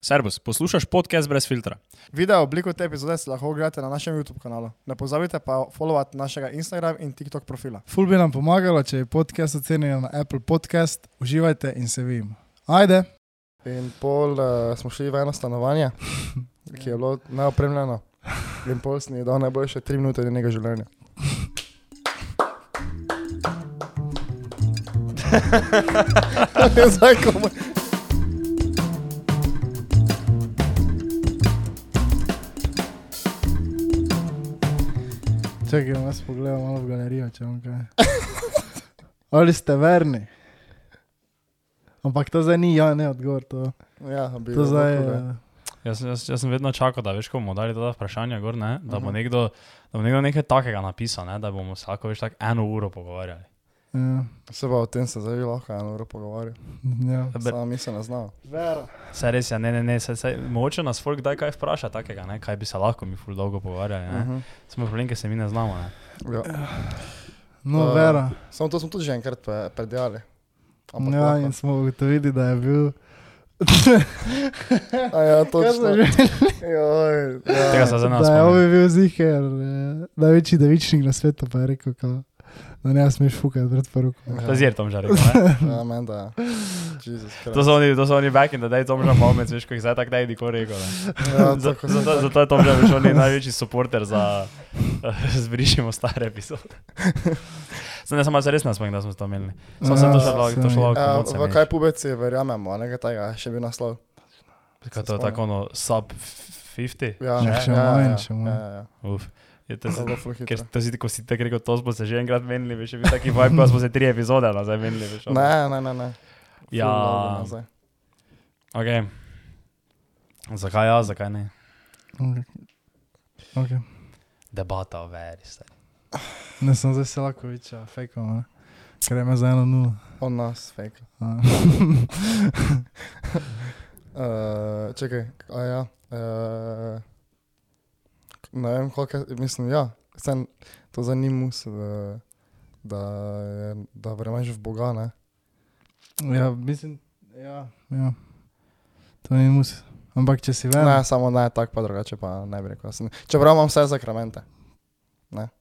Servus, poslušaš podcast brez filtra. Video obliko te epizode si lahko ogledate na našem YouTube kanalu. Ne pozabite pa followati našega Instagram in TikTok profila. Ful bi nam pomagalo, če bi podcast ocenili na Apple Podcast. Uživajte in se vidimo. Ajde! In pol uh, smo šli v eno stanovanje, ki je bilo neopremljeno. In pol si je dal najboljše tri minute njenega življenja. Zdaj, ko bo- Čakaj, bom jaz pogledam malo v galerijo, če vam kaj. Ali ste verni? Ampak to zdaj ni ja, ne odgovor. To, ja, bi to zdaj je. ja, lahko, ne. Jaz, jaz, jaz sem vedno čakal, da veš, ko bomo dali ta vprašanja, gor, ne, da, bo Aha. nekdo, da bo nekdo nekaj takega napisal, ne, da bomo vsako več tako eno uro pogovarjali. Ja, Se pa o tem se zdaj lahko eno uro pogovarjam. ja. Ber- Sama mi se ne znamo. Saj res je, ne, ne, ne, saj, saj, mogoče nas folk kdaj kaj vpraša takega, ne, kaj bi se lahko mi ful dolgo pogovarjali. Ne. Mhm. Smo problem, ker se mi ne znamo. Ne. Ja. No, Eh, vera. Samo to smo tudi že enkrat pe- predjali. Ampak Ja, lahko. in smo ugotovili, da je bil. A ja, Kaj smo točno. že- Joj, Tega ja. se zdaj nas Da je spomnim. ovi bil ziger, eh, največji devičnik na svetu, pa je rekel, kao, da ne smeš fukati pred poroko. To je zir tam že rekel. ne. Ja, meni da je. Jezus Kristus. To so oni, to so oni back in the day, Tom že pomeni, veš, ko jih zdaj tako da je nikoli rekel. ne. Ja, Zato, tako se zato, zato je Tom že šel največji supporter za eh, zbrišimo stare epizode. Zdaj ne samo se res nasmejim, da smo to imeli. Samo sem to še lahko, to še lahko. Ja, komot sem v imel. kaj pubeci verjamemo, nekaj tega je še bil naslov. Kaj se to je tako spomnim. ono, sub 50? Ja, Ja, še manj, še manj. Ja, ja, Uf. Je to ja. zelo. Zelo ful Ker hitro. to si, ko si tako rekel, to smo se že enkrat menili, veš, je bil taki vibe, ko smo se tri epizode nazaj menili, veš. ono. Ne, ne, ne. ne. Ful Ja. dolgo nazaj. Ok. Zakaj ja, zakaj ne? Okay. Okay. Debata o veri. stari. Ne sem zdaj Selakoviča, fejkom, ker je me za eno nula. Od nas, fake. A. Uh, čakaj, a ja. Uh, ne vem, koliko je, mislim, ja. Sen, to zanima se, da, eh, da, je- da verjameš v Boga, ne? Ja, mislim, ja. ja. To ni mus. Ampak če si Ja. veren, Ne, samo ne, tako pa drugače pa ne bi rekel. da sem- Čeprav imam vse zakramente.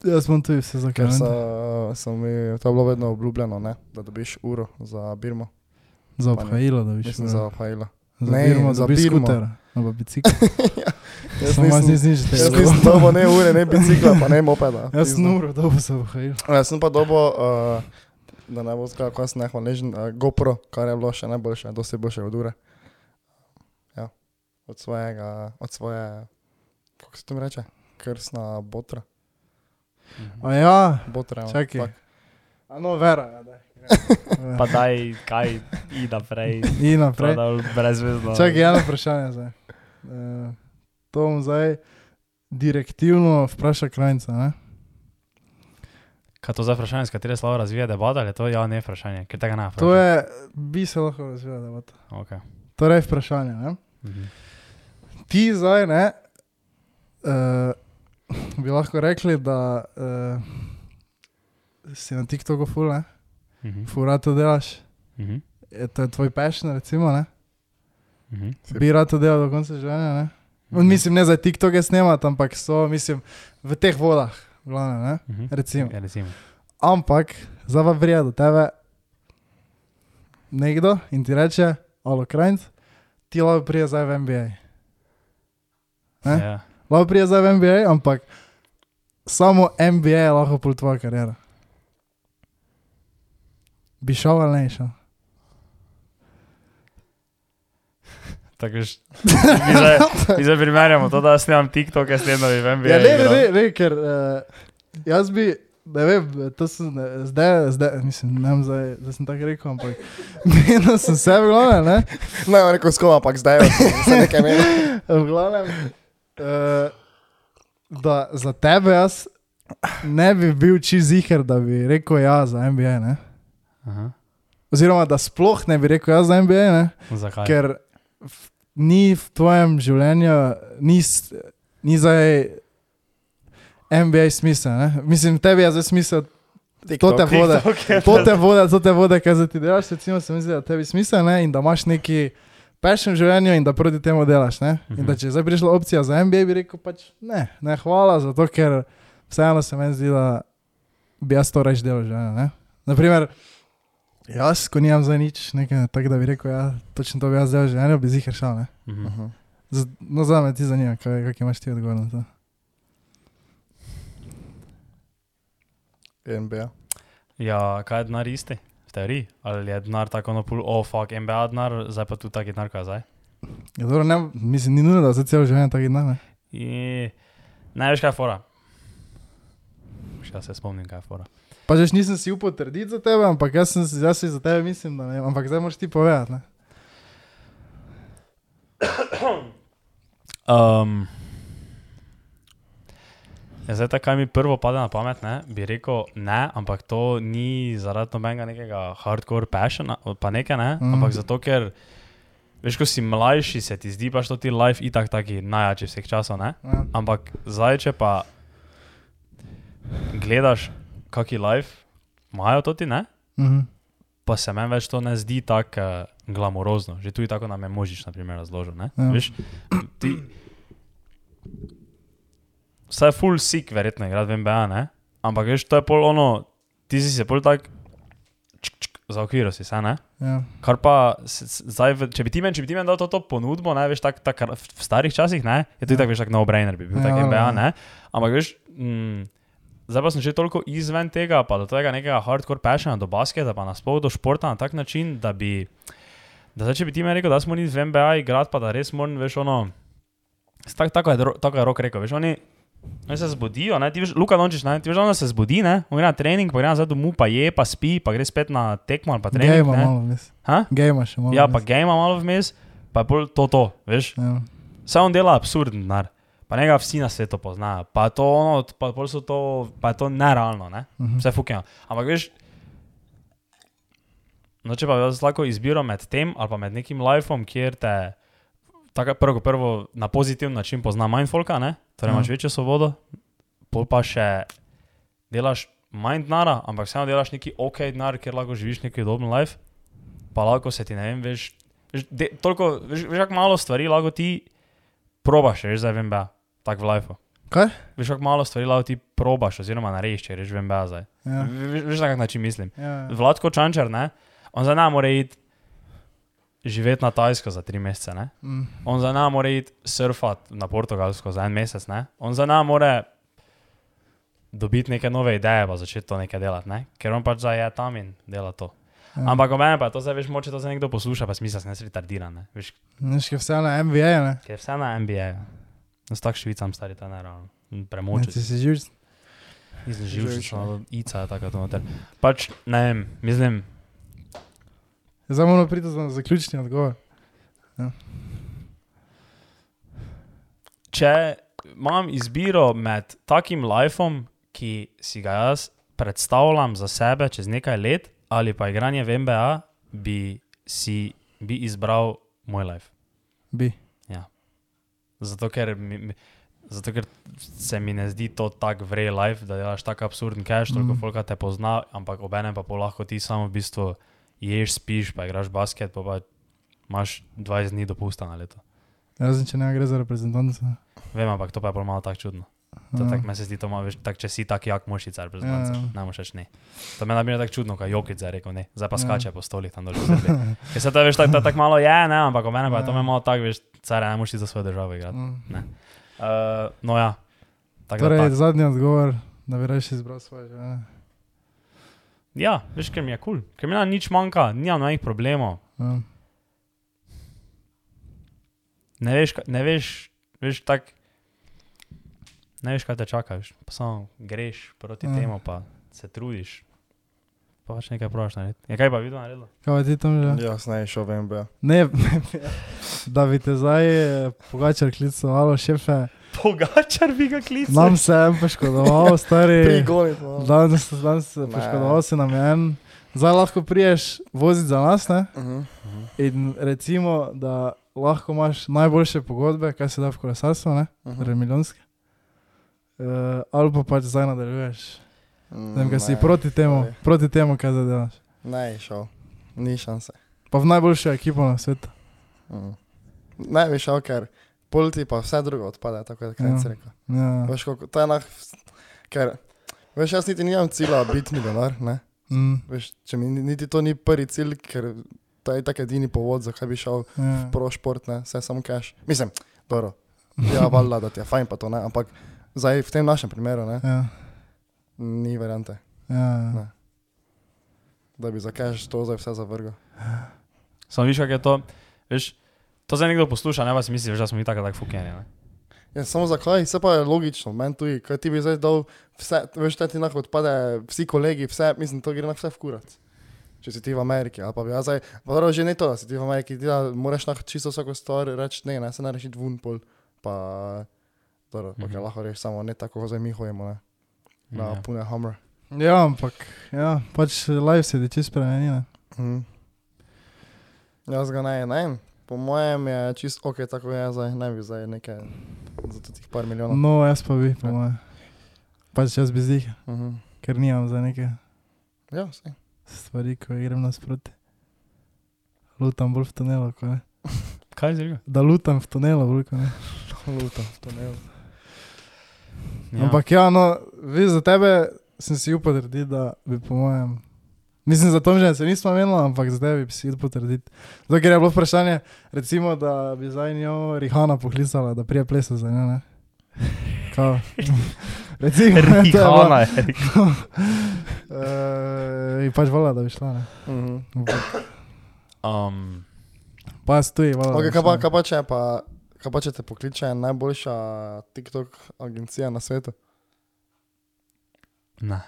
jaz sem tu vse za Ker kar so, sem. so mi, to je bilo vedno obljubljeno, ne? da dobiš uro za Birmo, Za pa ne. obhajilo, da bi šel. mislim Za za Pajla. ne, birmo, za za birmo. Birmo. Ja, skuter, ali pa bicikel. Jaz Samo jaz nisem, nisem nič jaz tega. nisem dobo ne ure, ne bicikla, pa ne mopeda. Jaz sem Pizda. uro dobo za obhajilo. Jaz Ja, sem pa dobo, uh, da ne bo skakal, kako sem nehvaležen, uh, GoPro, kar je bilo še najboljše, dosti boljše od ure. Ja, od svojega, od svoje, kako se to reče, krsna botra. Mhm. A ja, botra ja, čakaj. tako. A no, vera, ja, daj. gremo. Pa daj, kaj, i naprej. In naprej. Prodal brezvezno. Čakaj, eno vprašanje zdaj. Uh, to bom zdaj direktivno vprašal krajca. Ne? Kaj to za vprašanje, s katere slavo razvija debata, ali je to ja, ne vprašanje, ker tega ne vprašam. To je, bi se lahko razvijalo debata. Okay. Torej, vprašanje. Ne? Mhm. Ti zdaj ne, uh, bi lahko rekli, da uh, si na TikToku ful, ne, Mhm. ful rad to delaš, Mhm. je to tvoj pešen, recimo, ne, Mhm. bi rad to delal do konca življenja, ne. Mm. Mislim, ne za TikTok je snemati, ampak so, mislim, v teh vodah, glavne, ne, Mhm. recimo. Ja, recimo. Ampak zdaj pa prija do tebe nekdo in ti reče, alo krajnc, ti lahko prija zdaj v NBA. Ne? Ja. Lahko prija zdaj v NBA, ampak samo NBA je lahko pol tvoja karjera. Bi šel ali ne šel? Tako že. Mi zdaj, mi zdaj primerjamo to, da snemam TikTok, jaz ne vem, No, Ja, ne, ne, ne, ne ker uh, jaz bi, ne vem, to sem ne, zdaj, zdaj, mislim, ne vem, zdaj, zdaj sem tako rekel, ampak vedno sem se v glavnem, ne? Ne, bom rekel skoma, ampak zdaj je vse nekaj meni. V glavnem, uh, da za tebe jaz ne bi bil čist ziger, da bi rekel ja za MBA. Ne? Aha. Oziroma, da sploh ne bi rekel ja za MBA, ne? Zakaj? ker v, ni v tvojem življenju, ni, s- ni zdaj MBA smisel. Ne? Mislim, tebi je zdaj smisel. To te vode, TikTok je to te vode, to te vode, kaj zdaj ti delaš, recimo, se mi zdi, da tebi smisel ne? in da imaš neki pešem življenju in da proti temu delaš. Ne? In da če je zdaj prišla opcija za MBA, bi rekel pač ne, ne hvala, zato ker vseeno se meni zdi, da bi jaz to reč delal življenje. Ne? Naprimer, jaz, ko nimam za nič, nekaj tako, da bi rekel, ja, točno to bi jaz delal življenje, bi zihar šel. Ne? Mhm. Mhm. Z- No, za me ti zanima, kaj, kak imaš ti odgovor na to. MBA. Ja, kaj je denar isti? V teoriji? Ali je denar tako na pol, oh, fuck, MBA denar, zdaj pa tu taki denar, kaj je zdaj? Ja, dobro, ne, mislim, ni nujno, da se celo življenje tako dnevne. I... Ne veš, kaj je fora. Še jaz se spomnim, kaj je fora. Pa že nisem si upal trditi za tebe, ampak jaz, sem, si- jaz si za tebe mislim, da ne vem, ampak zdaj moraš ti povedati. Ne? Um, ja, zdaj, tako, kaj mi prvo pade na pamet, ne, bi rekel ne, ampak to ni zaradi nobenega nekega hardcore passiona, pa nekaj ne, Mm. mm. ampak zato, ker veš, ko si mlajši, se ti zdi pač to ti life itak taki najjači vseh časov, ne? Ja. Ampak zdaj, če pa gledaš, kaki life imajo to ti, ne? Mhm. pa se meni več to ne zdi tako uh, glamurozno. Že tu je tako nam je možič, na primer, razložil. Ja. Ja. Veš, ti, vsaj full sick, verjetno, igra v MBA, ne? ampak veš, to je pol ono, ti si se pol tak, čk, čk, zaokviro si se, ne? Ja. Kar pa, s- s- zdaj, v- če bi ti meni, če bi ti meni dal to, to ponudbo, ne veš, tak, tak, kar- v v starih časih, ne, je to Ja. tako, veš, tak no-brainer bi bil, Ja, tak ja, ja. MBA, ne, ampak veš, mm, zdaj pa sem že toliko izven tega, pa do tega nekega hardcore passiona, do basketa, pa nasploh do športa na tak način, da bi, da zdaj, če bi ti meni rekel, da smo ni v MBA igrati, pa da res moram, veš, ono, s- tak, tako, je, Dro- tako je rok rekel, veš, oni, Oni se zbudijo, ne, ti veš, Luka Dončić, ne, ti veš, da se zbudi, ne, on gre na trening, pa gre nazaj domov, pa je, pa spi, pa gre spet na tekmo ali pa trening. Gejma ne. malo, mislim. Ha? Gejma še malo. Ja, pa vmes. game malo vmes, pa je bolj to, to veš. Ja. Vse on dela absurden denar, pa njega vsi na svetu poznajo, pa, to, ono, pa, pol so to, pa je to nerealno, ne? Mhm. vse fuknja. Ampak veš, no če pa bi jaz lahko izbiro med tem ali pa med nekim lifeom, kjer te tako prvo, kot prvo na pozitiven način pozna mindfolka, ne? torej imaš Mhm. večjo svobodo, pol pa še delaš manj denara, ampak vseeno delaš neki ok denar, kjer lahko živiš neki udoben life, pa lahko se ti ne vem, veš, veš, de, toliko, veš, veš kako malo stvari lahko ti probaš, veš, zdaj vem, ba, tako v lifeu. Kaj? Veš, kako malo stvari lahko ti probaš, oziroma narediš, če rečeš, vem, ba, zdaj. Ja. Veš, veš, na kak način mislim. Ja. ja. Vladko Čančar, ne, on za nami more iti živeti na Tajsko za tri mesece, ne? Mm. on za nami more iti surfati na Portugalsko za en mesec, ne? on za nami more dobiti neke nove ideje, pa začeti to nekaj delati, ne? ker on pač zdaj je tam in dela to. Ja. Ja. Ampak o meni pa je to zdaj, veš, moče to zdaj nekdo posluša, pa smisel se ne retardira, ne? Veš, Neš, ki vse na MBA, ne? ker je vse na NBA. No, s tak švicam stari ta naravno. Ne, Premoči. ti Ja, si živč. Mislim, Že živčen, več, ne. samo ica je taka to noter. Pač, ne vem, mislim, Ja, Zdaj moramo priti za zaključni odgovor. če imam izbiro med takim lifeom, ki si ga jaz predstavljam za sebe čez nekaj let, ali pa igranje v MBA, bi si bi izbral moj life. Bi. Zato ker, mi, mi- zato, ker se mi ne zdi to tako vrej life, da delaš tako absurden cash, toliko Mhm. mm. folka te pozna, ampak obenem pa pol lahko ti samo v bistvu ješ, spiš, pa igraš basket, pa, pa imaš 20 dni dopusta na leto. Razen, če ne gre za reprezentanco. Vem, ampak to pa je pol malo tako čudno. To Ja. tako meni se zdi, to ima več, tak, če si tak jak mošica, reprezentanca, Ja, ja. ne moreš več ne. To meni je bilo tako čudno, kaj Jokic je rekel, ne, zdaj pa Ja. skače po stolih tam dol. po Srbiji. Ker se to veš, tako tak, tak malo je, ne, ampak o meni pa je to Ja. me malo tako, veš, cara, ne moreš iti za svojo državo igrati. Mm. Uh, no ja, tako torej, da. Torej, Tak. zadnji odgovor, da bi reš izbral svoje življenje. Ja, veš, ker mi je kul, cool. ker mi na nič manjka, nimam nobenih problemov. Ja. Ne veš, ka- ne veš, veš tak, ne veš, kaj te čaka, veš, pa samo greš proti Ja. ja. temu, pa se trudiš. Pa pač nekaj probaš narediti. Ja, kaj pa vidno naredilo? Kaj pa ti tam že? Ja, Ja. Jaz ne bi šel v MBA. Ne, da bi te zdaj eh, pogačar klicovalo, šefe. Pogačar bi ga klical. Nam se je en poškodoval, stari. Prigoni. Danes se danes se Ne. poškodoval, se nam je en. Zdaj lahko priješ voziti za nas, ne? Mhm. In recimo, da lahko imaš najboljše pogodbe, kaj se da v kolesarstvu, ne? Mhm. Torej milijonske. Uh, ali pa pač zdaj nadaljuješ. Ne vem, kaj si proti Mm, temu, sorry. proti proti temu, kaj zadelaš. Ne bi šel. Ni šanse. Pa v najboljšo ekipo na svetu. Mm. Ne, veš, ali ker polti pa vse drugo odpade, tako je krajc Ja. rekel. Ja. No. Veš, kako to je enak, ker veš, jaz niti nimam cilja biti milijonar, ne. Mm, Veš, če mi ni- niti to ni prvi cilj, ker to je tak edini povod, zakaj bi šel ja. pro šport, ne, vse samo cash. Mislim, dobro, ja, valjda, da ti je fajn pa to, ne, ampak zdaj v tem našem primeru, ne, Ja. ni variante, Ja. Ne. da bi za cash to zdaj vse zavrgal. Samo viš, kako je to. Veš, to zdaj nekdo posluša, ne vas misliš, da smo mi tako tako fukeni. Ja, samo zakaj, vse pa je logično, meni tudi, kaj ti bi zdaj dal, vse, veš, te ti lahko odpade, vsi kolegi, vse, mislim, to gre na vse v kurat. Če si ti v Ameriki, ali pa bi jaz zdaj, pa dobro, že ne to, da si ti v Ameriki, ti da moraš na čisto vsako stvar reči, ne, ne, se ne reši dvun pol, pa, dobro, mm Mhm. -hmm. lahko reši samo ne tako, kot zdaj mi hojemo, ne, na No. ja. pune hamra. ja, ampak ja, pač live se je čisto spremenil. Mhm. Jaz ga ne, ne, po mojem je čisto ok, tako kot je zdaj, ne bi zdaj nekaj, za tih par milijonov. Mm No, jaz pa bi, po Ja. mojem. Pač jaz bi zdih, -hmm. ker nimam za neke Ja, vse. stvari, ko igram nasproti. Lutam bolj v tunelu, ko je. Kaj je zdaj? Da lutam v tunelu, bolj ko ne. Luta, to ne vem. Ja. Ampak ja, no, vi za tebe sem si upal trditi, da bi po mojem. Mislim, za to že se nismo menili, ampak za tebe bi si upal trditi. Zato ker je bilo vprašanje, recimo, da bi zdaj njo Rihana poklicala, da prije plesa za njo, ne? Kao. recimo, ne, to je bilo- Rihana je. rekel. Eh, In pač vala, da bi šla, ne? Mhm. Ampak Um, Pa jaz tudi, vala. Okay, kaj, pa, kaj, pa, če je pa, kaj pa če te pokliče najboljša TikTok agencija na svetu? ne,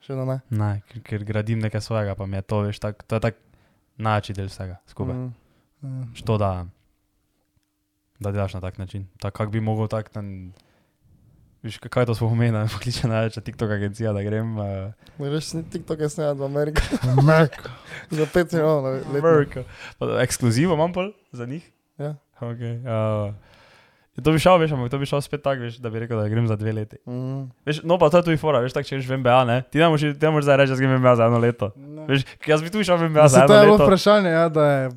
Še vedno ne. ne, ker, ker gradim nekaj svojega, pa mi je to, veš, tak, to je tako način del vsega skupaj. Mm. Mm. Eh, Što da, da delaš na tak način. Tako kako bi mogel tak ten. Veš, kaj- kaj to sploh pomeni, da me pokliče največja TikTok agencija, da grem. Uh, Ne veš, ni TikTok je snemal v Ameriki Merko. za 5 milijonov let. Amerika. Ekskluzivo imam pol za njih. Ja. Okay, uh, to bi šel, veš, ampak to bi šel spet tako, veš, da bi rekel, da grem za dve leti. Mm. Veš, no, pa to je tudi fora, veš, tako če greš v MBA, ne? Ti ne moreš, ti ne moreš zdaj reči, jaz grem v MBA za eno leto. Veš, jaz bi tu šel v MBA Ja, za se eno to je bilo leto. vprašanje, ja, da je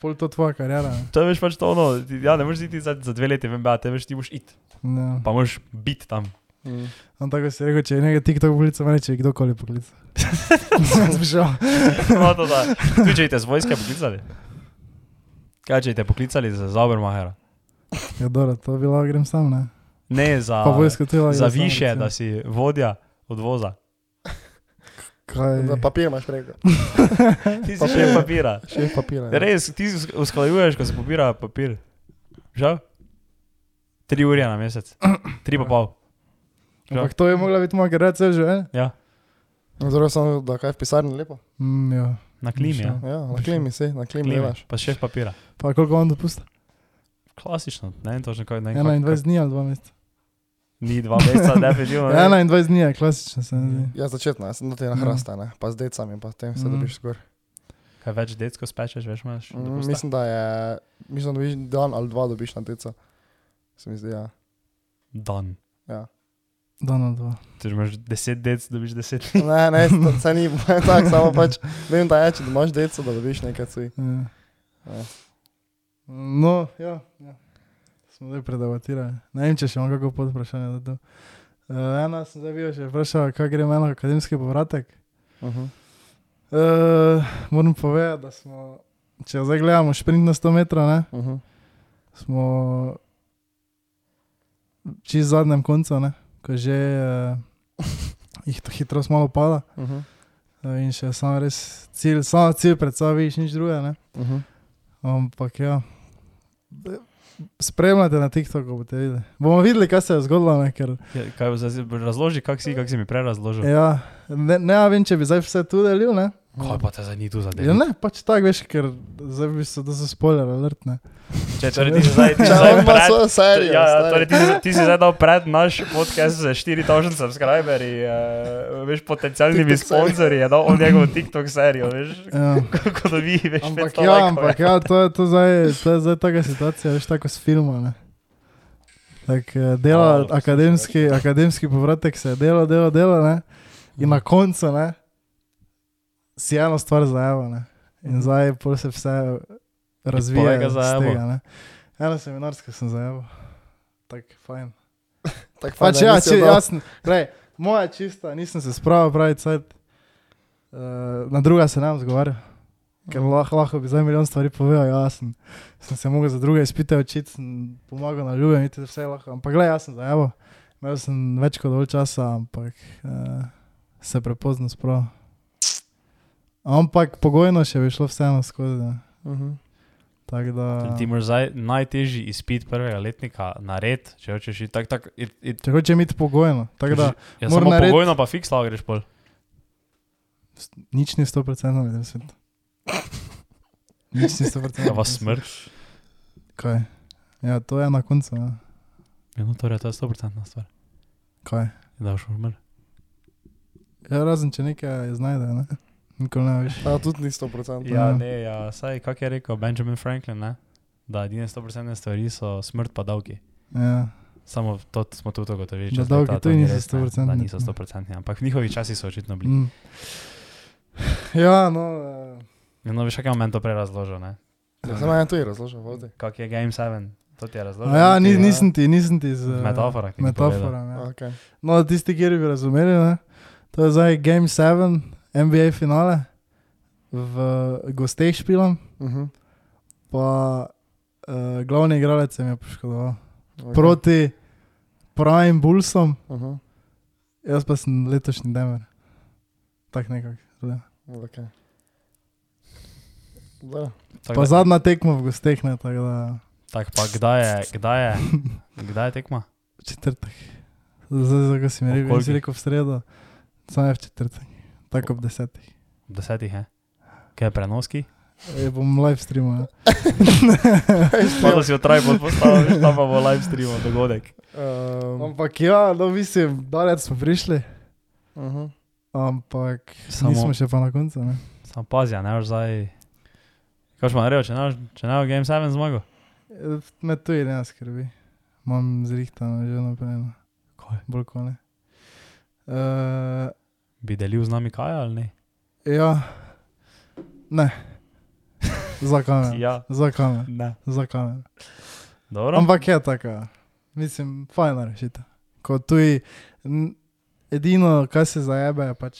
pol to tvoja Ja. karjera. ne. To je veš pač to, no, ti, ja, ne moreš iti za, za dve leti v MBA, te veš, ti moraš iti, Ja. pa moraš biti tam. Mm. On tako si rekel, če je nekaj TikTok poklical, meni če je kdorkoli poklical. Jaz bi šel. No, to da. Tudi če bi te z vojske poklicali. Kaj če bi te poklicali za Zaubermahera? Ja, dobro, to bi lahko grem sam, ne? Ne, za, Pa vojsko tudi lahko. za grem sam, više, recimo. da si vodja odvoza. Kaj? Papir imaš preko, Ti si še papira. ja. še papir. Res, ti us- usklajuješ, ko se pobira papir. Žal? Tri ure na mesec, tri pa pol. Ampak to je mogla biti moja generacija že, eh? Ja, Zelo sem, da kaj v pisarni lepo. Mm, ja. na klimi. Ja. Ja, na klimi si, na klimi Klimi, delaš. pa še papira. Pa koliko on dopusta? Klasično, ne vem točno kaj. Ne, vem, kako- 21 dni ali 2 meseca. Ni dva meseca, definitivno. ne. 21 dni je klasično, se mi zdi. Ja, začetna, jaz sem do te Mhm. na Mm. hrasta, ne, pa z decami, pa s tem se Mm. dobiš skor. Kaj več detsko spečeš, več imaš. Mm, dopusta? mislim, da je, mislim, da dobiš dan ali dva dobiš na deca. Se mi zdi, ja. Dan. Donald 2. Če imaš deset dec, dobiš deset. Ne, ne, se ni, tako, samo pač, vem, da je, če imaš deco, da dobiš nekaj cuj. Ja. Ja. No, ja, ja. Smo zdaj predebatirali. Ne vem, če še imamo kako pod vprašanje. za to. Eh, Ena sem zdaj bil še vprašal, kaj gre meni akademski povratek. Uh -huh. Uh, moram povedati, da smo, če zdaj gledamo sprint na 100 metrov, ne, Uh -huh. smo čist zadnjem koncu, ne, ko že uh, jih to hitrost malo pada Uh -huh. uh, in še samo res cilj, samo cilj pred sabo, viš nič drugega. Ne. Uh -huh. Ampak ja, d- spremljate na TikToku, boste videli. Bomo videli, kaj se je zgodilo, ne, ker Ja, Kaj, bo zdaj- razloži, kako si, kak si mi prej razložil. ja, ne, ne vem, če bi zdaj vse tu delil, ne. Kaj pa te zdaj ni tu za Ja, delo? ne, pač tako veš, ker zdaj bi se, da so spoiler alert, ne. Če torej ti si zdaj, ti si Če zdaj on ima pred, svojo serijo. ja, ja, stari. torej ti, si- ti si zdaj dal pred naš podcast za 4000 subscriberji, uh, veš, potencialnimi TikTok serijo. sponzorji, je dal on njegovo TikTok serijo, veš, Ja. kako da vi, veš, Ampak pet ja, lajkov, ampak ja, to je, to, zdaj, to je zdaj taka situacija, veš, tako s filma. Ne? Tak, eh, dela, Malo, no, akademski, akademski povratek se je delo, delo, delo, ne? in na koncu ne? si eno stvar zajava. Ne? In zdaj pol se vse povej ga razvija. zajebo. Eno seminarsko sem zajel. Tako fajn. Tako Pač ja, či, jasno. Glej, moja čista, nisem se spravil pravi cajt. Uh, na druga se nam zgovarja. Ker lahko, lahko bi zdaj milijon stvari povedal, jasno. Sem se mogel za druge izpite učiti, sem pomagal na ljubem, niti vse lahko. Ampak gledaj, jaz sem zajeval. Imel sem več kot dovolj časa, ampak uh, se prepozno spravil. Ampak pogojno še bi šlo vseeno skozi. ne. Mhm. Tako da... Ti moraš zdaj najtežji izpit prvega letnika narediti, če hočeš iti tako. Tak, it, it, Če hoče imeti pogojno, tako da ja, moram samo narediti- pogojno pa fiksla greš pol. nič ni 100% na tem svetu. Nič ni 100%. Da Ja, vas smrt. Kaj? Ja, to je na koncu. Ja. Ja, no, torej, to je 100% stvar. Kaj? Da boš umrl. Ja, razen če nekaj znajde, ne? nikoli ne veš. Ja, tudi ni 100%. Ja, ne, ja, saj, kak je rekel Benjamin Franklin, ne? da edine 100% stvari so smrt pa davki. Ja. Samo to smo tudi ugotovili. Da čez davki leta, to tudi ni niso res, ne, 100%, Da niso ne. 100%, ampak njihovi časi so očitno bili. Mm. ja, no. eh, Ja, No, veš, kaj je moment to prej razložil, ne? Za mene ja, to je razložil, vodi. Kak je Game 7, to ti je razložil. a Ja, niti, ni, ja. nisem ti, nisem ti z eh, Metafora, ki ti povedal. metaforami. Ja. Okay. No, tisti, ki bi razumeli, ne? to je zdaj Game 7, NBA finale, v gosteh špilom, Uh -huh. pa uh, glavni igralec se mi je poškodoval. okay. Proti Prime Bullsom, Uh -huh. jaz pa sem letošnji Denver. Tako nekako. izgleda. okay. Da. Tako Pa da- zadnja tekma v gosteh, ne tako da Tako pa kdaj je, kdaj je, kdaj je tekma? v četrtek. Zdaj, zdaj ko si mi Ob rekel, si kolikih? rekel v sredo, samo je v četrtek, tako ob desetih. Ob desetih je. Kaj je prenoski? Je bom live streamal. Ja. Spomnil si otraj pod postavljen, tam pa bo live streamal dogodek. Um, Ampak ja, no mislim, dalec smo prišli, uh -huh. ampak Samo- Samo. nismo še pa na koncu. Ne? Sam pazi, a ne boš zdaj. Kaj boš pa naredil, če ne boš, če ne boš Game 7 zmagal? Eh, Me tu je ne skrbi, imam zrihtano že naprej. no. Kaj? Bolj kot ne. Uh, Bi delil z nami kaj ali ne? Ja, ne. Za kamen. Ja. Za kamen. Ne. Za kamen. Dobro. Ampak je taka, mislim, fajna rešitev. Ko tuji, n- edino, kar se zajebe, je pač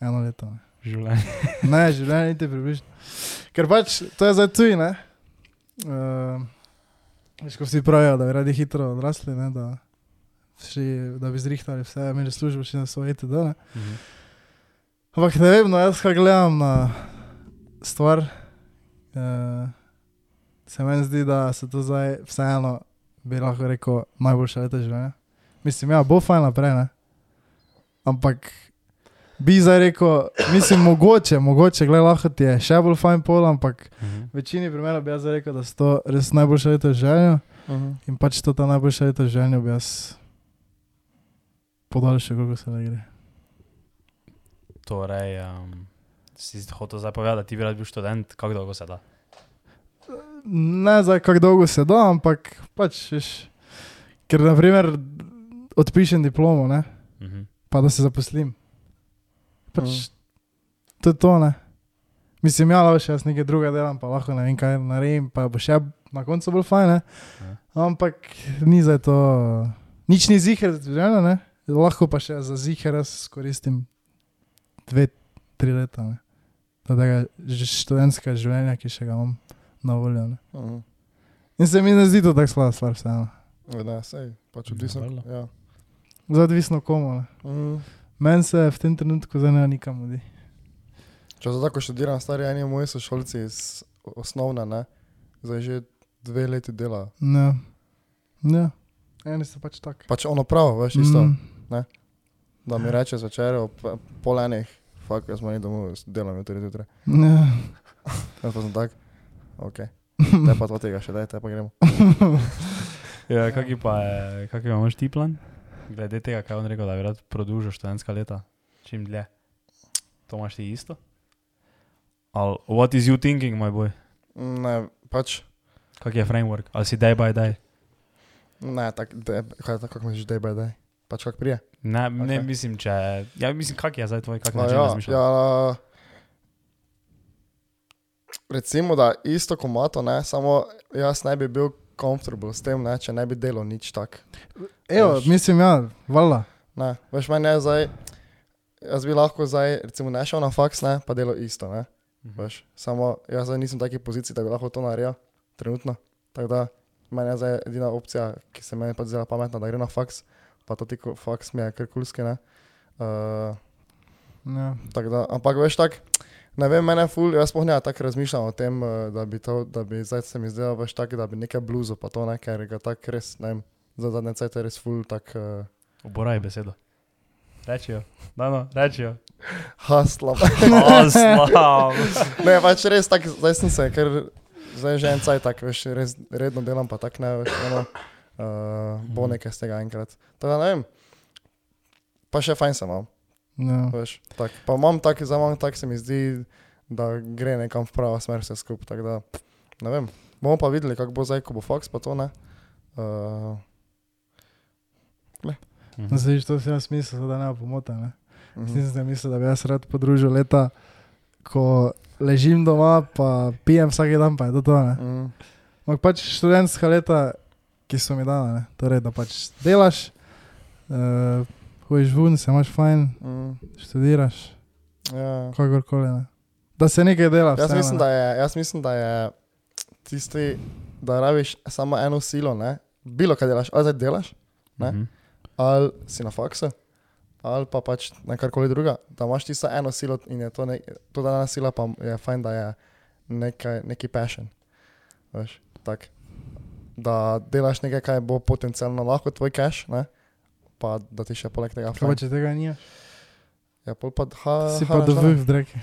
eno leto. Ne, Življenje. ne življenje niti približno. Ker pač to je zdaj tuji, ne. Uh, veš, ko vsi pravijo, da bi radi hitro odrasli, ne, da, vsi, da bi zrihtali vse, imeli službo, še na svoje itd. Ne. Mhm. Ampak ne vem, no, jaz kaj gledam na stvar. Uh, se meni zdi, da se to zdaj vseeno, bi lahko rekel, najboljše leto življenja. Mislim, ja, bo fajn naprej, ne? ampak bi zdaj rekel, mislim, mogoče, mogoče, gledaj, lahko ti je še bolj fajn pol, ampak Mhm. v večini primerov bi jaz zdaj rekel, da so to res najboljše leto življenja Uh -huh. in pač to ta najboljše leto življenja bi jaz podaljšal, kako se le gre. Torej, um, si hotel zdaj povedati, da ti bi rad bil študent, kako dolgo se da? ne za kako dolgo se da, ampak pač, veš, ker naprimer odpišem diplomo, ne, Mhm. pa da se zaposlim. Pač, to je to, ne. Mislim, ja, lahko še jaz nekaj drugega delam, pa lahko ne vem kaj naredim, pa bo še na koncu bolj fajn, ne. Ja. Ampak ni za to, nič ni ziher, žena, ne. Lahko pa še za ziher jaz koristim dve, tri leta, ne. Tega študentskega življenja, ki še ga imam na voljo, ne. Uh -huh. In se mi ne zdi to tako slaba stvar, vseeno. Ne, sej, pač Ja, odvisno. valjda. Ja. Zdaj odvisno komu. ne. Mm. Meni se v tem trenutku zdaj ne nikam mudi. Če se tako študiram, stari eni moji sošolci iz osnovne, ne? zdaj že dve leti dela. Ne. Ne. Eni so pač tak. Pač ono pravo, veš, isto. Mm. Mm, Da mi reče zvečer ob eh, pol enih, fakt, jaz manj domov delam jutri zjutraj. ne. Jaz pa sem tak, ok. Ne pa to tega še, daj, te pa gremo. Ja, kaki pa je, kaki pa imaš ti plan? Glede tega, kaj je on rekel, da bi rad produžil študentska leta, čim dlje. To imaš ti isto? Ali what is you thinking, moj boj? Ne, pač, Kak je framework? Ali si day by day? ne, tak, de, kaj, tako kako misliš, daj, daj, daj. Pač kak prije. Ne, ne Ok. mislim, če... Ja, mislim, kak je zdaj tvoj, kak No, način ja, razmišljanja? ja, recimo, da isto komato, ne, samo jaz ne bi bil comfortable s tem, ne, če ne bi delal nič tak. Evo, Veš. mislim, ja, vala. Ne, veš, meni je zdaj, jaz bi lahko zdaj, recimo, ne šel na faks, ne, pa delal isto, ne, Mhm. veš, samo jaz zdaj nisem v taki poziciji, da bi lahko to naredil, trenutno, tako da meni je zdaj edina opcija, ki se meni pa zdela pametna, da gre na faks, pa to ti ko- faks mi je kar kulski, ne. Uh, Ja. Tako Da, ampak veš tako, ne vem, mene ful, jaz spohnja tako razmišljam o tem, eh, da bi, to, da bi zdaj se mi zdelo, veš tako, da bi nekaj bluzo, pa to ne, ker ga tako res, ne vem, za zadnje cajt je res ful, tako uh, Oboraj besedo. Rečijo, da no, rečijo. hasla. Oslav. ne, pač res tako, zdaj sem se, ker zdaj že en cajt tako, veš, res redno delam, pa tako ne, veš, ono, uh, bo nekaj z tega enkrat. Tako da ne vem, pa še fajn sem imel. Ja. Veš, tak, pa imam tako, za manj tako se mi zdi, da gre nekam v pravo smer vse skupaj. tako da, Ne vem. Bomo pa videli, kako bo zdaj, ko bo Fox, pa to ne. Uh, Mhm. No, se viš, to si jaz mislil, da ne bo pomota. Ne? mhm. Nisem se mislil, da bi jaz rad podružil leta, ko ležim doma, pa pijem vsak dan, pa je to to. Ne? Mhm. Ampak pač študentska leta, ki so mi dana, ne? torej da pač delaš, uh, hojiš ven, se imaš fajn, Mhm. študiraš, Ja. kakorkoli. Ne? Da se nekaj dela. Jaz Ja, vseeno, no. mislim, ne. da je, jaz mislim, da je tisti, da rabiš samo eno silo, ne? bilo kaj delaš, ali zdaj delaš, Ne? Mhm. ali si na faksu, ali pa pač na karkoli druga, da imaš tisto eno silo in je to, ne, to da ena sila, pa je fajn, da je nekaj, neki passion. Veš, tak, da delaš nekaj, kar bo potencialno lahko tvoj cash, ne? pa da ti še poleg tega Kaj pa fajn. Eh, če pač tega ni, Ja, pol pa ha, si pa dobil v dreke.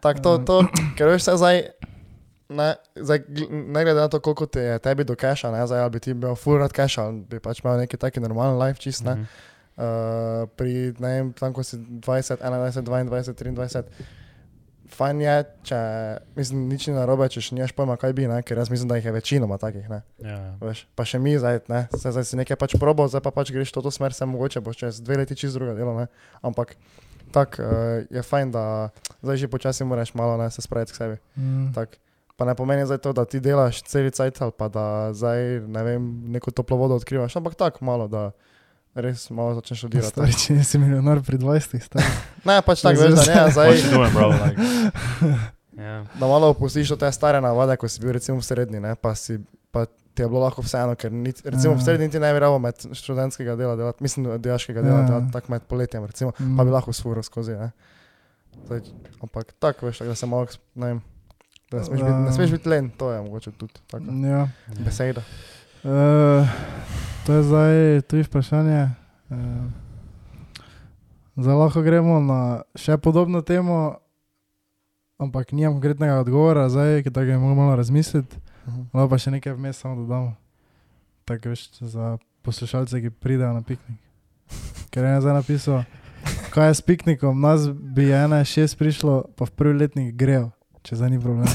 Tako to, to, ker veš, vse zdaj, ne, zdaj, gl- ne glede na to, koliko te je tebi do cache, ne, zdaj ali bi ti imel full rad cache, ali bi pač imel neki taki normalen life čist, Mhm. ne. Uh, pri, ne vem, tam ko si 20, 21, 22, 23. Fajn je, če, mislim, nič ni narobe, če še nimaš pojma, kaj bi, ne, ker jaz mislim, da jih je večinoma takih, ne. Ja, Veš, pa še mi zdaj, ne, se zdaj si nekaj pač probo, zdaj pa pač greš v to smer, se mogoče boš čez dve leti čez druga delo, ne. Ampak tako uh, je fajn, da zdaj že počasi moraš malo ne, se spraviti k sebi. Mm. Tak. Pa ne pomeni zdaj to, da ti delaš cel cajt ali pa da zdaj ne vem, neko toplo vodo odkrivaš, ampak tako malo, da res malo začneš odirati. Stari, če nisi milijonar pri 20, stari. Ne, pač tako veš, da ne, zdaj, What you doing, bro? Like, yeah. da malo opustiš to te stare navade, ko si bil recimo v srednji, ne, pa, si, pa ti je bilo lahko vseeno, ker niti, recimo v Mhm. Ja. srednji ti ne bi rabo med študentskega dela delati, mislim, dejaškega dela Mhm. Ja. delati, tako med poletjem recimo, Mm. pa bi lahko svuro skozi, ne. Zdaj, ampak tako veš, tako da se malo, ne vem, da ne smeš biti, ne smeš biti len, to je mogoče tudi tako Mhm. Ja. beseda. Uh, to je zdaj tudi vprašanje. Uh, zdaj lahko gremo na še podobno temo, ampak nimam konkretnega odgovora, zdaj ki tako je mogo malo razmisliti. Mhm. Lahko pa še nekaj vmes samo dodamo. Tako veš, za poslušalce, ki pridejo na piknik. Ker je zdaj napisal, kaj je s piknikom, nas bi ena šest prišlo, pa v prvi letnik grejo, če zdaj ni problem.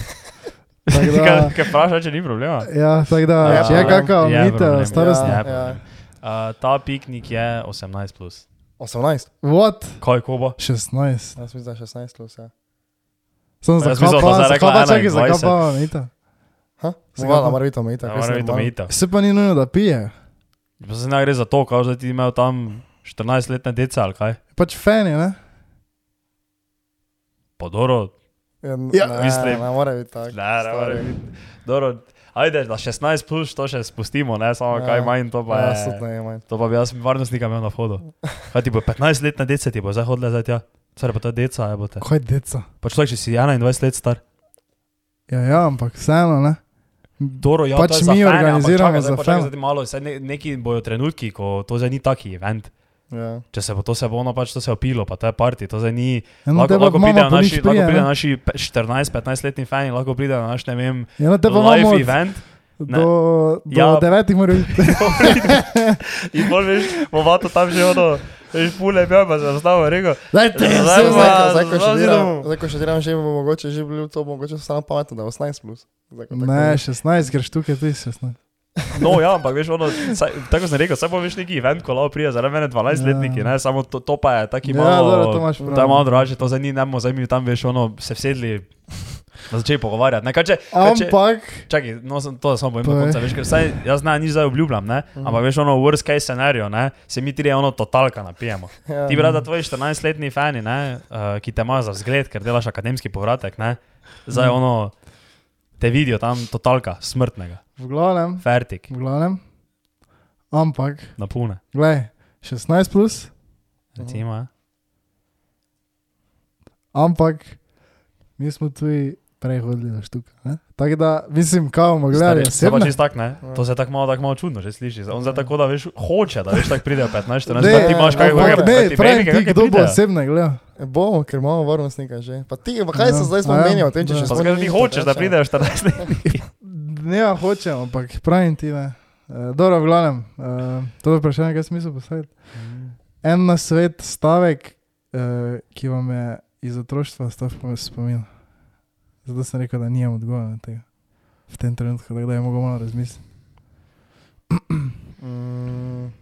Tako da- Kaj, kaj vprašaj, če ni problema? Ja, tako da, Ja, če je problem. kakšna Ja. Ja, problem, omejitev, ja. starostna. Ja, Ja, problem. ja. Uh, ta piknik je 18. Plus. 18, What? Kaj, ko bo? jaz 16. mislim, da je 16 plus, ja. Sem Pa jaz zakopal, mislil, da zdaj rekla zakopal, čakaj, 21. zakopal, Anita. Ha? Se Zgledala, ga- mora biti omejitev. Ja, res mora biti normalno. omejitev. Se pa ni nujno, da pije. Pa se ne gre za to, kao da ti imajo tam 14-letne dece ali kaj. Pač feni, ne? Pa dobro, Ja, Ja, ne, mislim. Ne more biti tako. ne, ne, more stari. Ja, biti. dobro. Ajde, da 16 plus to še spustimo, ne samo Ja. kaj manj, to pa Ja, je. sodno je manj. To pa bi jaz varnostnika imel na vhodu. Kaj ti bo 15-letna deca, ti bo zdaj hodila zdaj tja. Stare pa ta deca, je bo te. Kaj deca? Pač človek, če si 21 let star. Ja, ja, ampak vseeno, ne? Doro, ja, Pač to je za fene, mi ampak organiziramo čakaj, zdaj za pa čakaj, fene. zdaj ti malo, saj ne- Neki bojo trenutki, ko to zdaj ni taki event. Ja. Če se bo to se bo ono pač to se opilo, pa to je parti, to zdaj ni. Lahko, Eno Ja, no, te pa lahko imamo pridejo po nič naši, prije, prije, lahko pridejo ne? naši 14-15-letni fani, lahko pridejo na naš, ne vem, Eno Ja, no, te pa imamo live od- event. ne. do, do Ja. devetih mora biti. In bolj veš, bovato tam že ono, veš, pule, ja, pa se razstavo, rekel. Dajte, Ja, se zdaj Zdaj, pa- zdaj- zdaj, zdaj, ko zdaj še delam- zidamo. zdaj, ko še delam, že bi mogoče že bilo to mogoče samo pametno, da je 18 plus. Zdaj, ko tako Ne, vidim. 16, ker štuke ti 16. No, ja, ampak veš, ono, saj, tako sem rekel, samo veš neki event, ko lao prija, zaradi mene 12-letniki, ne, Ja. samo to, to pa je taki Ja, malo. dobro, to imaš prav. To je malo drugače, to zdaj ni, ne bomo zdaj mi tam, veš, ono, se vsedli, da začeli pogovarjati. Ne, kaj če, kaj če, Ampak, čakaj, no, sem- to samo povem do Povej. konca, veš, ker saj, jaz znam, nič zdaj obljubljam, ne, Mhm. ampak veš, ono, worst case scenario, ne, se mi trije, ono, totalka napijemo. Ja. Ti, brada, tvoji 14-letni fani, ne, uh, ki te imajo za zgled, ker delaš akademski povratek, ne, zdaj Mhm. ono, te vidijo tam totalka, smrtnega, v glavnem, fertik, v glavnem, ampak, napune. glej, 16 plus, Recimo, ja. ampak mi smo tudi prej hodili na štuk. ne. Tako da, mislim, kao bomo gledali Se pa osebno. čist tak, ne? To se tako malo, tako malo čudno že sliši. On zdaj tako, da veš, hoče, da veš, tako pridejo 15, 14, da ti imaš kaj ampak govora. Ne, pravim ti, kdo bo osebne gledal. Bomo, ker imamo varnostnika že. Pa ti, pa kaj se Ja. zdaj smo A ja. menjali, tem, če Ja. še Pa sploh skaj ti ni hočeš, da drugače. pridejo 14 let. Ne, ja, hočem, ampak pravim ti, ne. Eh, Dobro, v glavnem, eh, to je vprašanje, kaj smisel postaviti. En na svet stavek, eh, ki vam je iz otroštva stal v spomin. Zato sem rekel, da nimam odgovora na tega. V tem trenutku, tako da je mogoče malo razmisliti. Mm.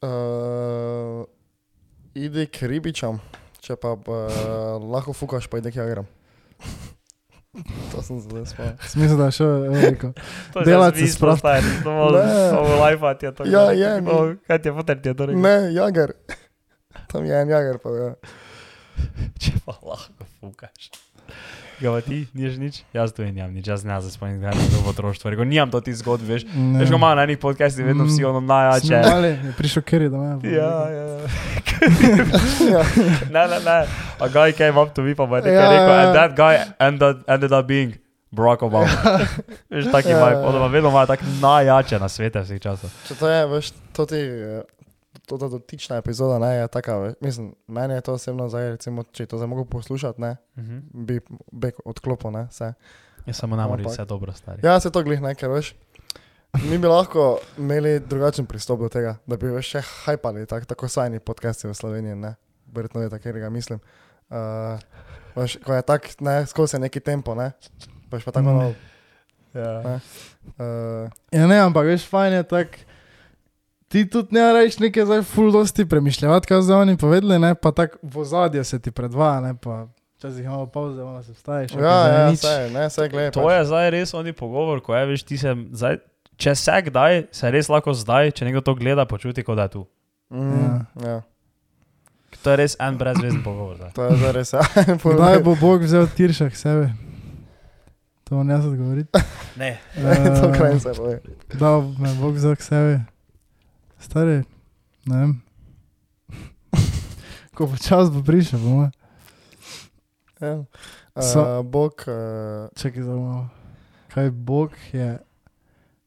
Uh, idi k ribičam, če pa uh, lahko fukaš, pa idi k jagram. to sem zelo spal. Smisel, da je šel, eh, rekel. Delati se sprav- Ne. Samo lajfat je to. Ja, je, ni. No, Kaj ti je potem ti je to rekel? Ne, jagar. Tam je en jagar, pa ja. Če pa lahko fukaš. Ga pa ti, niš nič? Jaz tu nimam nič, jaz ne znam spomniti, kaj je to v otroštvu. Rekel, Nimam to ti zgodb, veš. Ne. Veš, ko imamo na enih podcastih vedno vsi ono Smo najjače. mali, je Prišel kjer do mene. pa je Ja, rekel, ja. ne, ne, ne. A guy came up to me, pa mu je nekaj Ja, yeah, rekel, ja. and that guy ended, ended up being Barack Obama. Veš, taki Ja, yeah, vibe, ja. odoma vedno ima tak najjače na svete vseh časov. Če to je, veš, to ti, eh, to ta dotična epizoda, ne, je taka, veš, mislim, meni je to osebno zdaj, recimo, če to zdaj mogo poslušati, ne, Mhm. bi bek odklopil, ne, vse. Ja, samo nam reče, Ampak- vse dobro, stari. Ja, se to glih ne, ker veš. Mi bi lahko imeli drugačen pristop do tega, da bi veš še hajpali, tak, tako so eni podcasti v Sloveniji, ne? Verjetno je tako, ga mislim. Uh, veš, ko je tak, ne, skozi je neki tempo, ne? Paš pa tako malo. Ja. Uh, Ja, ne, ampak veš, fajn je tak. Ti tudi ne rečeš nekaj zdaj full dosti premišljati, kaj so oni povedali, ne, pa tako v ozadju se ti predvaja, ne, pa včasih imamo pauze, malo se vstaviš. ok, zdaj ja, ja, nič. vse, ne, pač. vse gledaj. To je zdaj res oni pogovor, ko je, veš, ti se zdaj, če se kdaj, se res lahko zdaj, če nekdo to gleda, počuti, kot da je tu. Mm, ja. To je res en brezvezen pogovor. Zdaj. To je ja. zdaj res. Kdaj bo Bog vzel tirša k sebi? To vam jaz odgovorim. Ne. Ja. to kraj se boje. Da, bo me Bog vzel k sebi. Stari, ne vem. Ko bo čas, bo prišel, bomo. Ja. So- Uh, Bog, uh, Čakaj, zdaj malo. Kaj Bog je,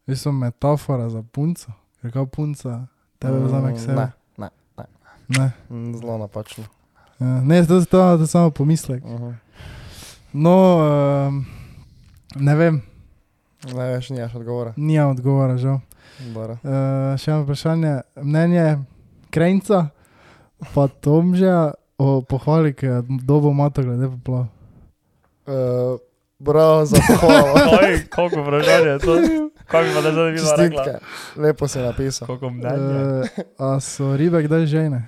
veš, so metafora za punco, ker kao punca Mm, tebe vzame k sebi. mm, Ne, ne, Ne, Mm, zelo napačno. ja, ne to, to, to je samo pomislek. Uh -huh. No, um, ne vem, Ne veš, nimaš odgovora. nija odgovora, žal. Dobro. Uh, še eno vprašanje, mnenje Krajnca, pa Tomža o pohvali, ki je dobo mato glede poplav. Uh, bravo za pohvalo. Oj, koliko vprašanj je to? Kaj bi pa da zdaj videla? rekla? Čestitke. Lepo si napisal. Koliko mnenja? Uh, a so ribe kdaj žene?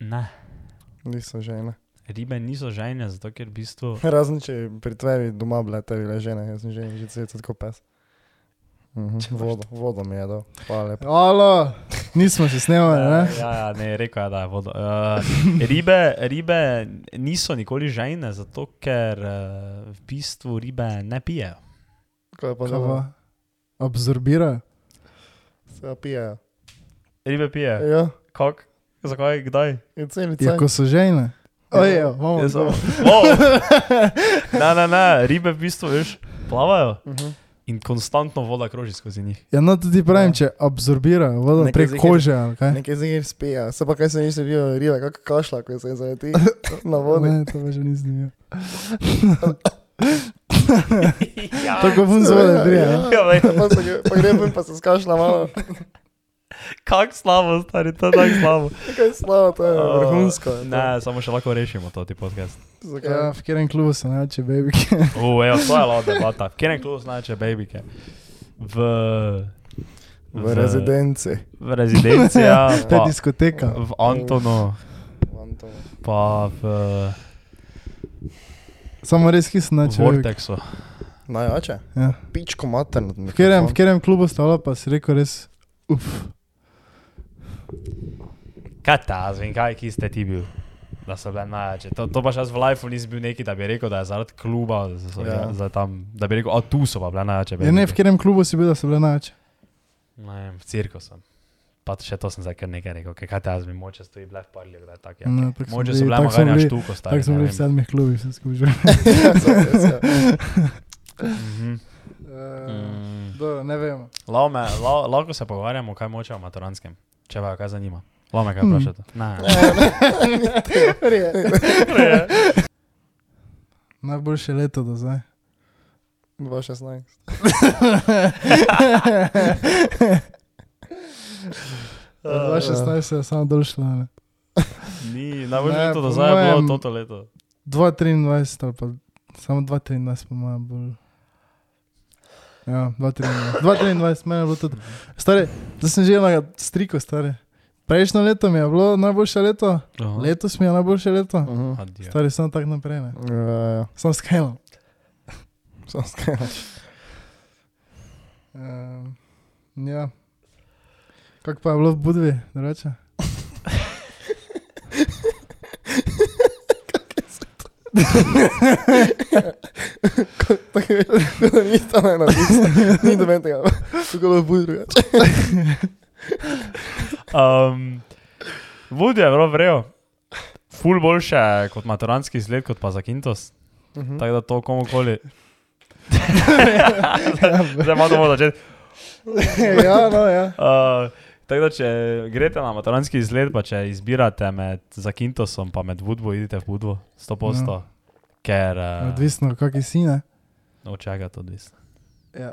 Ne, Niso žene. ribe niso žejne, zato ker v bistvu. Razen če pri tebi doma bile te bile žene, jaz sem žene že cvet kot pes. Mhm, Vodo, vodo mi je dal. Hvala lepa. Alo, nismo se snemali, ne? ja, ja, ne, rekel je, da je vodo. Uh, ribe, ribe niso nikoli žejne, zato ker uh, v bistvu ribe ne pijejo. Ko ja. je pa Kaj doma, pa? Absorbirajo. se jo pijejo. Ribe pijejo. Ja, Kak? Zakaj, kdaj? in celice. Ja, ko so žene. ja, Ojejo, imamo Ja. Jaz odgovor. sem- Wow. Ne, ne, ne, ribe v bistvu veš, plavajo Mhm. in konstantno voda kroži skozi njih. Ja, no tudi pravim, Ja. če absorbirajo vodo Nekaj prek zihar- kože ali kaj. Nekaj zigir spija, se ja. pa kaj se nisi videl, rive, kako kašla, ko se jim zaleti na vodi. Ne, to pa že nisem videl. Tako fun zvode prije. Ja, ne? Ja, lej. ja, Pa, se, gre- pa gre ven, pa se skašla malo. Kak slabo, stari, to je tako slabo. Kaj je slabo, to je vrhunsko. je to. Ne, samo še lahko rešimo to ti podcast. Zakaj? Ja, v katerem klubu se nače, baby. Uf, evo, to je lava debata. Kjer je klub znače babike? V... V rezidenci. V rezidenci, ja. To je Pa, diskoteka. v Antonu, pa v Samo res, ki se nače, baby. Vortexu. Najoče? Ja. Pičko materno. V katerem, v katerem klubu stalo, pa si rekel res, uf, Kaj ta, zvinkaj, ki ste ti bil? Da so bile najjače. To, to pa še jaz v lifeu nisem bil neki, da bi rekel, da je zaradi kluba, da, so, ja. Ja. za tam, da bi rekel, a tu so pa bile najjače. je Ja, ne, v katerem klubu si bil, da so bile nače. Ne vem, v cirku sem. Pa še to sem zdaj kar nekaj rekel, kaj, kaj te jaz bi moče stoji blef parlil, da je tak. Ja. No, tako smo Moče bili- so bile tako smo maganja bili- štuko, stari. Tako smo ne bili v vem. sedmih klubih, sem skužil. Mhm. Mm. Eh, Dobro, ne vemo. Lao me- lao- Lahko se pogovarjamo, kaj moče o maturanskem, če pa kaj zanima. Lome Hm. kaj vprašate. Ne. Najboljše leto do zdaj. 2016. Ja, Eh, 2016 se je samo dol šlo. ne. Ni, najbolj Ne, leto po do zdaj je mojem- bilo toto leto. 2023 ali pa samo 2013 po mojem bolj. Ja, 2023. 2023 meni je bilo tudi. Stare, zdaj sem že na striku, stare. Prejšnjo leto mi je bilo najboljše leto, letos mi je najboljše eh. leto. Mhm. Adijo. Stari, sem tako naprej, ne. Ja, ja. Sem skalom. Samo skaj. Um, ja. Kako pa je bilo v Budvi, drugače? Tako je, da ni tam ena, ni do meni tega. Tako da bo drugače. Um, Vudi je bilo vrejo. Ful boljše kot maturanski izgled, kot pa za Kintos. Mhm. Tako da to komukoli. Zdaj malo bomo začeli. ja, no, ja. Uh, Tako da, če greste na maturanski izlet, pa če izbirate med Zakintosom in med Budvo, idite v Budvo, 100%. Ja. No. Ker uh, Odvisno, kak je sine. od čega je No, to odvisno. Ja.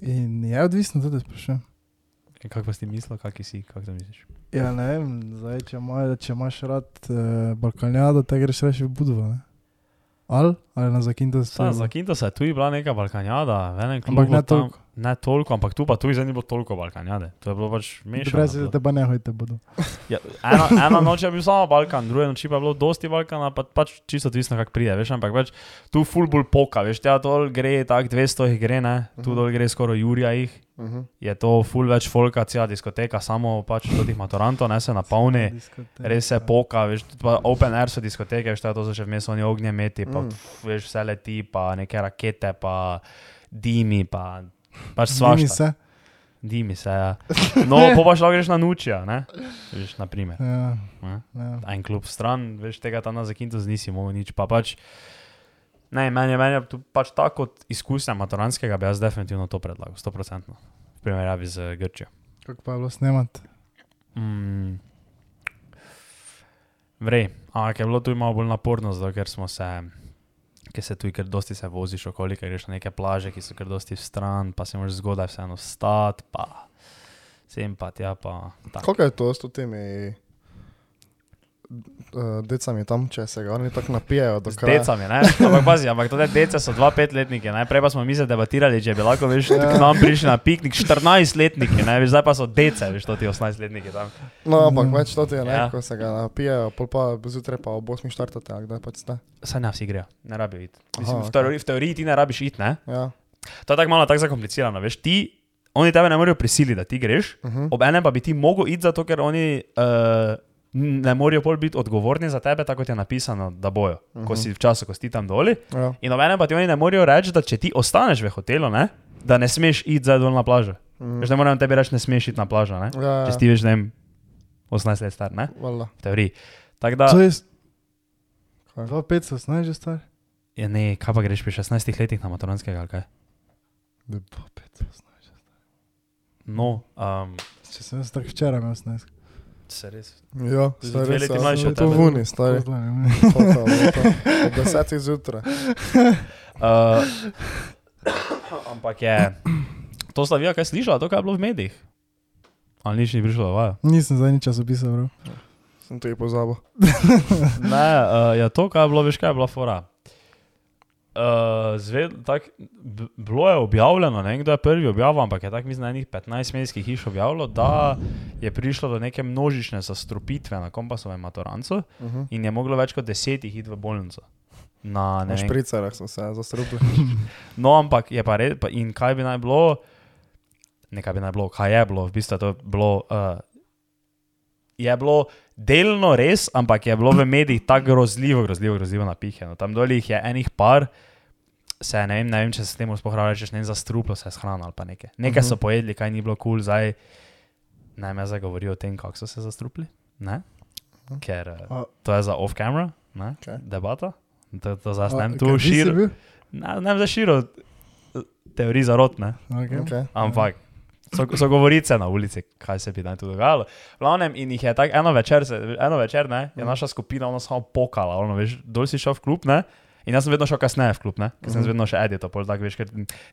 In je odvisno tudi, sprašujem. In E, Kako pa si ti mislil, kak si, kako to misliš? Ja, ne vem, zdaj, če, ima, če imaš rad eh, Balkanjado, te greš reči v Budvo, ne? Al? Ali na Zakinto Sa, za Kintos je tu bila neka balkanjada, v enem klubu. Ampak ne tam- toliko. Ne toliko, ampak tu pa tu zdaj ni bilo toliko balkanjade. To je bilo pač Brez da mešano. te pa ne hojite bodo. Ja, ena, ena noč je bil samo Balkan, druge noči pa je bilo dosti Balkana, pa pač čisto odvisno, kako pride. Veš, ampak pač tu full bolj poka, veš, tja dol gre tako 200 jih gre, ne? tu Mhm. dol gre skoraj Jurija jih. Mhm. Je to full več folka, cela diskoteka, samo pač od tih maturantov, ne se napolni. Res Ja. se poka, veš, tudi pa open air so diskoteke, veš, to je to so še vmes oni ognjemeti, pa Mm. Mhm. pf, veš, vse leti, pa neke rakete, pa dimi, pa pač Svami svašta. se. Dimi se, ja. No, pa pač lahko greš na nučja, ne? Veš, na primer Ja, Ne? ja. en klub stran, veš tega tam na zakinto znisi mogel nič. Pa pač, ne, meni je, meni je tu pač tako kot izkušnja maturanskega, bi jaz definitivno to predlagal, 100%. V primerjavi z Grčijo. Kako pa je bilo snemati? Mm. Vrej, ampak je bilo tu malo bolj naporno, zato ker smo se. Ker se tu kar dosti se voziš okoli, ker greš na neke plaže, ki so kar dosti stran, pa se moraš zgodaj vseeno vstati, pa sem pa tja, pa tako. Kako je to s temi eh, decami tam, če se ga oni tako napijajo do Z kraja? decami, ne? ampak pazi, ampak to te dece so dva petletniki, ne? prej pa smo mi se debatirali, če bi lahko veš, k nam prišli na piknik 14-letniki, ne? veš, zdaj pa so dece, veš, to ti 18-letniki tam. No, ampak več to ti je, ne, Ja. ja. ko se ga napijajo, pol pa zjutraj pa ob 8 štartate, ali kdaj pač ste. Saj ne vsi grejo, ne rabijo iti. Mislim, Aha, v, teoriji, v teoriji ti ne rabiš iti, ne? Ja. To je tako malo tako zakomplicirano, veš, ti, oni tebe ne morejo prisiliti, da ti greš, Uh -huh. ob enem pa bi ti mogel iti, zato ker oni uh, ne morejo bolj biti odgovorni za tebe, tako kot je napisano, da bojo, ko si v času, ko si ti tam doli. ja. In obenem pa ti oni ne morejo reči, da če ti ostaneš v hotelu, ne, da ne smeš iti zdaj dol na plažo. Mm. Že ne morem tebi reči, ne smeš iti na plažo. Ne? Mhm. Ja, Če ja. si veš, ne vem, 18 let star, ne, Valjda. v teoriji. Tako da, To je. Kaj? 2500, znaš že star? ja, ne, kaj pa greš pri 16 letih na maturanskega, ali kaj? 2500, znaš že. No, um, Če sem jaz tako včeraj imel 18. se res. Ja, Ti si stari, dve leti mlajši od to tebe. vuni, stari. Totalno, to. Ob 10 zjutraj. Uh, ampak je, to Slavija, kaj slišala, to, kar je bilo v medijih. Ali nič ni prišlo, vaja. Nisem za nič časopisal, bro. Sem tudi pozabil. Ne, uh, ja, to, kaj je bilo, veš, kaj je bila fora. Uh, zved, tak, b- bilo je objavljeno, ne vem kdo je prvi objavil, ampak je tako, mislim, na enih 15 medijskih hiš objavilo, da je prišlo do neke množične zastrupitve na kompasovem maturancu Uh -huh. in je moglo več kot deset jih iti v bolnico. Na, ne Na vem, špricarah so se zastrupili. No, ampak je pa res, in kaj bi naj bilo, ne kaj bi naj bilo, kaj je bilo, v bistvu je to bilo. Uh, je bilo delno res, ampak je bilo v medijih tako grozljivo, grozljivo, grozljivo napihano. Tam dol jih je enih par. Se je, ne vem, ne vem, če se temu sploh lahko rečeš, ne vem, zastruplo se je s hrano ali pa nekaj. Nekaj Mhm. so pojedli, kaj ni bilo kul, cool, zdaj naj me zdaj govorijo o tem, kako so se zastrupili. Ne? Ker eh, Mhm. A- to je za off-camera, ne? Okej. debata. To, to zdaj ne A, kaj, tu ti si širimo. bil? Ne, ne za širo eh, teorij zarot, ne? Okay. Okay. Okay. ampak so, so govorice na ulici, kaj se bi naj tu dogajalo. V glavnem, in jih je tako eno večer, se, eno večer ne, je naša skupina ona samo pokala, ono, veš, dol si šel v klub. Ne? In jaz sem vedno šel kasneje v klub, ne? ker sem Mhm. vedno še edito, pol tako veš, ker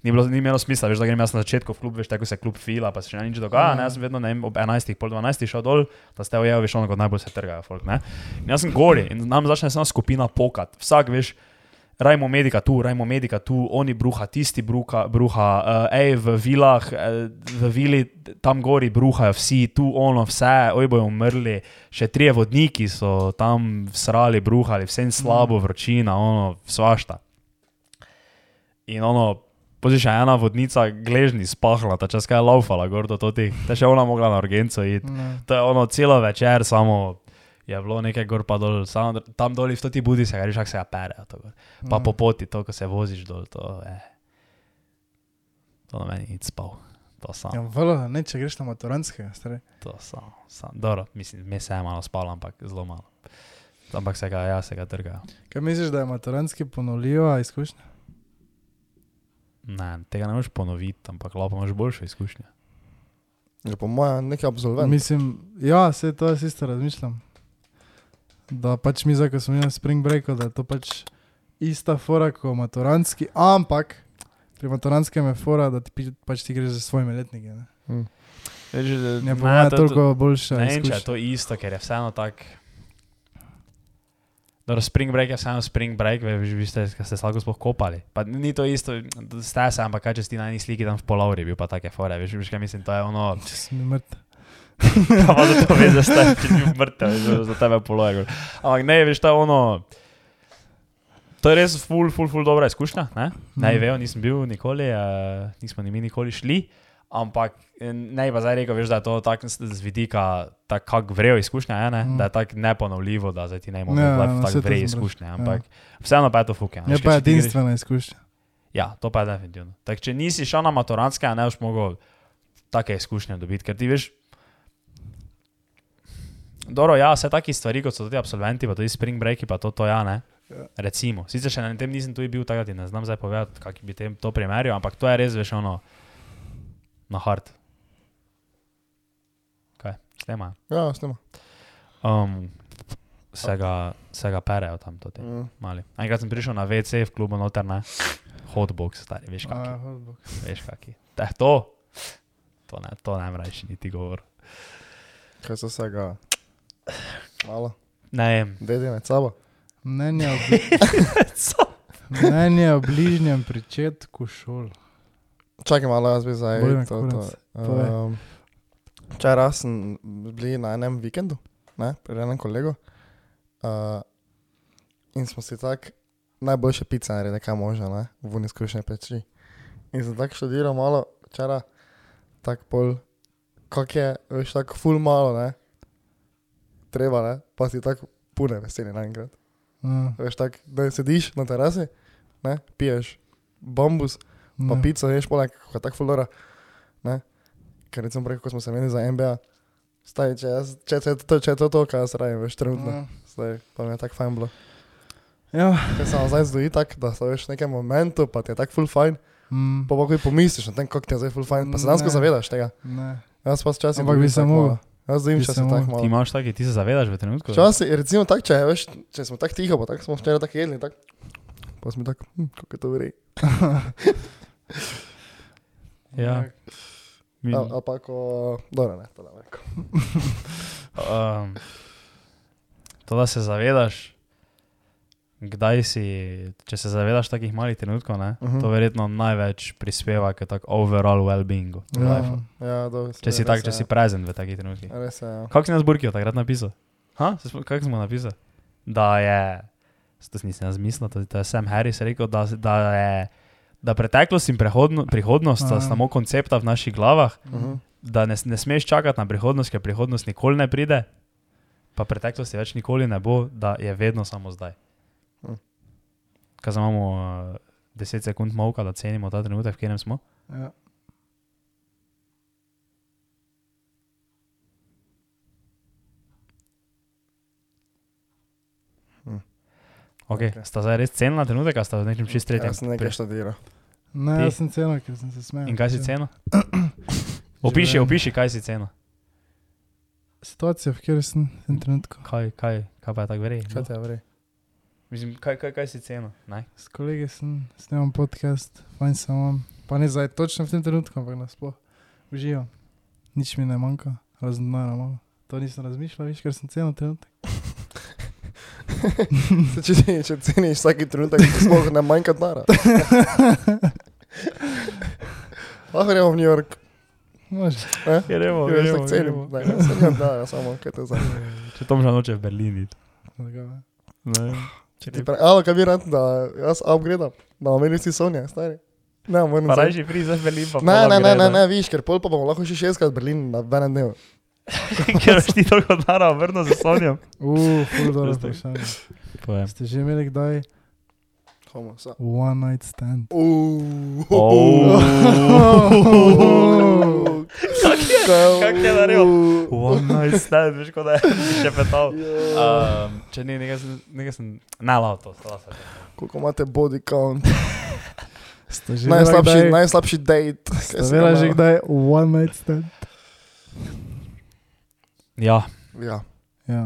ni, bilo, ni imelo smisla, veš, da grem jaz na začetku v klub, veš, tako se klub fila, pa se še nič dogaja, ne? jaz sem vedno ne vem, ob 11, pol 12 šel dol, da ste ujeli, veš, ono kot najbolj se trgajo, folk, ne. In jaz sem gori in nam začne samo skupina pokat, vsak veš, Rajmo medika tu, rajmo medika tu, oni bruha, tisti bruha, bruha uh, ej, v vilah, uh, v vili tam gori bruhajo vsi, tu ono, vse, oj bojo umrli, še trije vodniki so tam srali, bruhali, vsem slabo, vročina, ono, svašta. In ono, pozri še ena vodnica, gležni spahla, ta čas kaj je laufala, gor do totih, ta še ona mogla na urgenco iti. No. To je ono celo večer, samo je bilo nekaj gor pa dol, samo dr- tam dol, v toti budi se, reš, kako se apere. Pa po poti, to, ko se voziš dol, to je. To na meni ni nič spal, to Ja, sam, velo, ne, če greš na maturanskega, stari. to sam, sam. Dobro, mislim, mi se je malo spal, ampak zelo malo. Ampak se ga, ja, se ga trga. Kaj misliš, da je maturanski ponovljiva izkušnja? Ne, tega ne moreš ponoviti, ampak lahko imaš boljšo izkušnjo. Ja, po mojem, nek absolvent. Mislim, ja, se to jaz isto razmišljam. Da pač mi, zdaj, ko smo imeli spring break, da je to pač ista fora kot maturanski, ampak pri maturanskem je fora, da ti pi- pač ti greš za svojimi letniki. Ne, Hm. ne po mojem je toliko boljša. Ne, vem, če je izkušnja. to isto, ker je vseeno tako. Dobro, spring break je vseeno spring break, veš, vi ste ke ste se lahko sploh kopali. Pa ni to isto, ste se, ampak kaj če si ti na eni sliki tam v polovri, bil pa take fore, veš, veš kaj mislim, to je ono, Če si mi mrtev. pa da to veš, da ste ti bil mrtev, veš, da za tebe poloje. Ampak ne, veš, to je ono, to je res ful, ful, ful dobra izkušnja, ne? Mhm. Naj vejo, nisem bil nikoli, uh, nismo ni mi nikoli šli. Ampak eh, ne bi pa zdaj rekel, veš, da je to tako s- z vidika, tako kako vrejo izkušnja, je, ne? Mm. da je tako neponovljivo, da zdaj ti ne Ja, ja, moreš no, gledati saj tako to vreje sem brez- izkušnje. Ampak vseeno pa je to fuke. Je Ja, pa edinstvena izkušnja. Ja, to pa je definitivno. Tak, če nisi šel na maturantske, ne boš mogel take izkušnje dobiti, ker ti veš. Dobro, ja, vse take stvari, kot so tudi absolventi, pa tudi spring breaki, pa to, to ja, ne. Ja. Recimo, sicer še na tem nisem tudi bil, tako da ti ne znam zdaj povedati, kak bi tem to primerjal, ampak to je res veš ono na hard. Kaj, stema. Ja, snima. Um, se ga, se ga perejo tam, to ti Mm. mali. Enkrat sem prišel na WC v klubu noter, ne. Hotbox, stari, veš kak je. A, hotbox. Veš, kaki. Eh, to, to ne, to ne mreš, niti govor. Kaj so se ga? Malo. Ne, Dedi med sabo. Mnenje o bli- Mnenje o bližnjem pričetku šol. Čakaj malo, jaz bi zdaj Boj me to. to. kurac, povej. Um, Včeraj sem bili na enem vikendu, ne, pri enem kolegu. Uh, in smo si tako najboljše pice naredili, kaj možno, ne, v uniskušnje peči. In sem tako študiral malo včeraj, tako pol, kak je, veš, tako ful malo, ne, treba, ne, pa si tako pune veseli naenkrat. Ja, Veš, tako, da sediš na terasi, ne, piješ bambus, pa ne. pico ješ poleg, ko je tako fulora. ne. Ker recimo prej, ko smo se menili za MBA, staj, če, jaz, če, če, to, če je to to, kar jaz rajem, veš, trenutno, Ja. staj, pa mi je tako fajn bilo. Ja. Ker se vam zdaj zdi tako, da so veš v nekem momentu, pa ti je tako ful fajn, Mm, pa pa ko pomisliš na tem, kako ti je zdaj ful fajn, pa se dansko Ne. zavedaš tega. ne. Jaz pa včasih Ampak bi dobim se tako mogel. malo. Jaz zdim, če Bi se sem tako mogel. ti malo. imaš taki, ti se zavedaš v trenutku. da- Včasih, recimo tako, če, veš, če smo tako tiho, pa tako smo včeraj tako jedli, tako, pa smo tako, hm, kako je to vrej. Ja. Mi- Ali pa ko, dobro, ne, to ne vem. Um, to, da se zavedaš, kdaj si, če se zavedaš takih malih trenutkov, ne, Mhm. to verjetno največ prispeva k tako overall well-beingu. Ja. life-a. Ja, dobro. Če si res tak, je, če si prezen v takih trenutkih. Res je, ja. Kako si nas burkijo takrat napisal? Ha? Se spom- Kako smo napisali? Da je, s- to si nisem jaz mislil, to, to je Sam Harris rekel, da, se- da je. Da preteklost in prehodno, prihodnost sta Aha. samo koncepta v naših glavah, Mhm. da ne, s- ne smeš čakati na prihodnost, ker prihodnost nikoli ne pride, pa preteklosti več nikoli ne bo, da je vedno samo zdaj. Hm. Kaj znamo, 10 sekund molka, da cenimo ta trenutek, v katerem smo. Ja. Okay. Okej. Okay. Sta zdaj res cenila trenutek, ali sta v nečem čist tretjem? Jaz sem nekaj študiral. Ne, Ti? jaz sem ceno, ker sem se smejal. In kaj si ceno? Opiši, Ja, Življenje. opiši, kaj si ceno. Situacija, v kateri sem v tem trenutku. Kaj, kaj, kaj pa je tako verjetno? Kaj te vre? Mislim, kaj, kaj, kaj si ceno? Ne? S kolegi sem snemal podcast, fajn sem vam. Pa ne zdaj točno v tem trenutku, ampak nasploh uživam. Nič mi ne manjka, razen denarja malo. To nisem razmišljal, veš, ker sem ceno trenutek. Saj Če, ti- če ceniš vsaki trenutek, sploh ne manjka denara. Lahko gremo v New York. Može. Ne? Gremo, Ja, jaz tako cenim. Ne, jaz se nimam denarja, samo kaj te zanima. Če Tom že noče v Berlini. Ti pre- Alo, kaj bi rad, da jaz upgradam? Da omeni si Sonja, stari. Ne, moram Pa raje že pri za Berlin, pa Ne, ne, ne, ne, ne, viš, ker pol pa bomo lahko še šestkrat Berlin na enem dnevu. Ker si ti toliko denarja vrnil za Sonjo. Uf, ful dobro Res tako. vprašanje. Ja. Ste že imeli kdaj Homo, sa. one night stand? Uuuu. Oh. Kak kako je naredil? Oh, One night stand, veš, kot da je še petal. Um, če ni, nekaj sem, nekaj sem, ne, lao to, stala se. Koliko imate body count? Ste že imeli Najslabši, kdaj, najslabši date. kaj ste si ga imeli že imela? kdaj one night stand? Ja, Ja, Ja.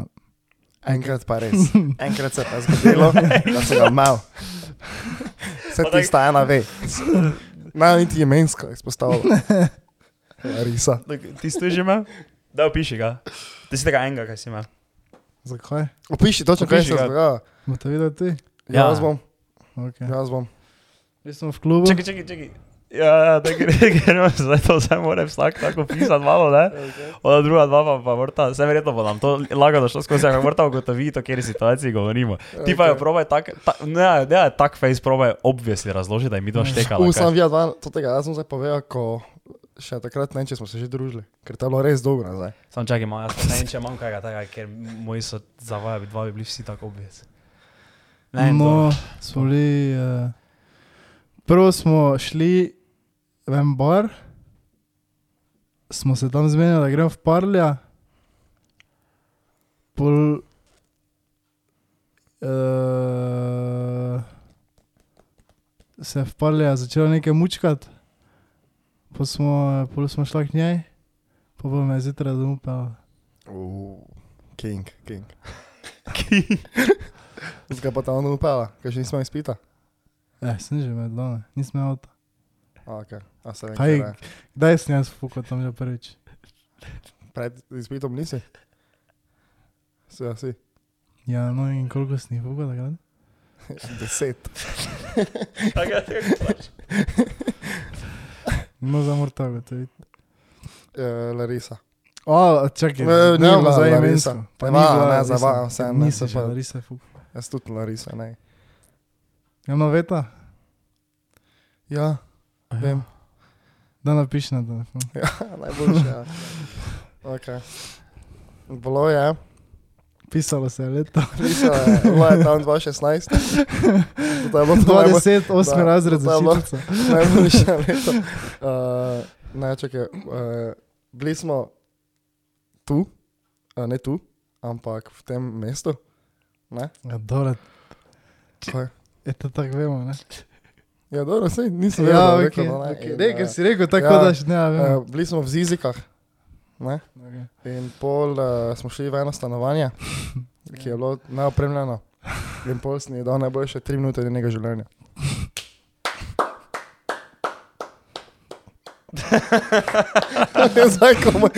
enkrat pa res. Enkrat se je pa zgodilo, da se ga mal. Se Pa tak- tista ena ve. Ne, niti imensko izpostavlja. Risa. ti si to že imel? Da, opiši ga. Ti si tega enega, kaj si imel. Zakaj? Opiši točno, kaj Opiši se je ga. zgodilo. Boste videli ti? Ja. Jaz bom, Okay. jaz bom. Mi smo v klubu. Čakaj, čakaj, čakaj. Ja, ja, da gre, gremo zdaj to, zdaj mora vsak tako pisati malo, ne? Ona druga dva pa, pa vrta, vse verjetno bo nam to lagano šlo skozi, ampak vrta ugotovi to, kjer situaciji govorimo. Ja. Ti pa jo Ok. probaj tak, ta, ne, ne, tak face probaj obvesli razložiti, da ja, je mi dva štekala. U, kaj. sem videl, da to tega, jaz sem zdaj povedal, ko še takrat ne, če smo se že družili, ker to je bilo res dolgo nazaj. Sam čakaj, imam, jaz pa ne vem, če imam kaj takega, ker moji so zavajabi, dva bi bili vsi tako obvez. Ne, vem, No, dobro. smo bili. Uh, prvo smo šli v en bar, smo se tam zmenili, da gremo v parlja. Pol, uh, se je v parlja začelo nekaj mučkati, pa smo, pol smo šli k njej, pa bo me zjutraj domov pel. Uh, king, king. Zdaj pa tam upala, ker še nismo izpita. Eh, sem že med doma, nisem imel avta. A, Okay. A se vem, Kaj? kaj, ne. Kdaj sem jaz fukal tam že prvič? Pred izpitom nisi? Si, ja, si. Ja, no in koliko sem jih fukal takrat? Deset. Tako je, tako pač. je. No, za morta gotoviti. Uh, Larisa. O, čakaj, Ne, ni ne, bilo la- za Eh, Larisa. imensko. Ne, va, ne, za va, vseeno, ne, Nisem se še pa- Larisa fukal. Jaz tudi Larisa, ne. Ja, no, veta, Ja, vem. da napiši na telefon. Ja, najboljše. Ja. Okay. Bilo je. Pisalo se je leto. Larisa je bila je tam 2016. To je bilo to najbolj- 20, 8 da, razred to za je bilo- šitnico. Najboljše leto. Uh, ne, čakaj, uh, bili smo tu, uh, ne tu, ampak v tem mestu. Ne? Ja, dobro, Kaj? je to tako vemo, ne? Ja, dobro, sej nisem vedel, da Ja, bi ok, rekel, da ne. ok. In, Ne, eh, ker si rekel tako, ja, da še ne ja, vem. eh, Bili smo v Zizikah ne? Okay. in pol uh, smo šli v eno stanovanje, ki je bilo neopremljeno. In pol sem ji dal najboljše tri minute njenega življenja. Zdaj, ko mu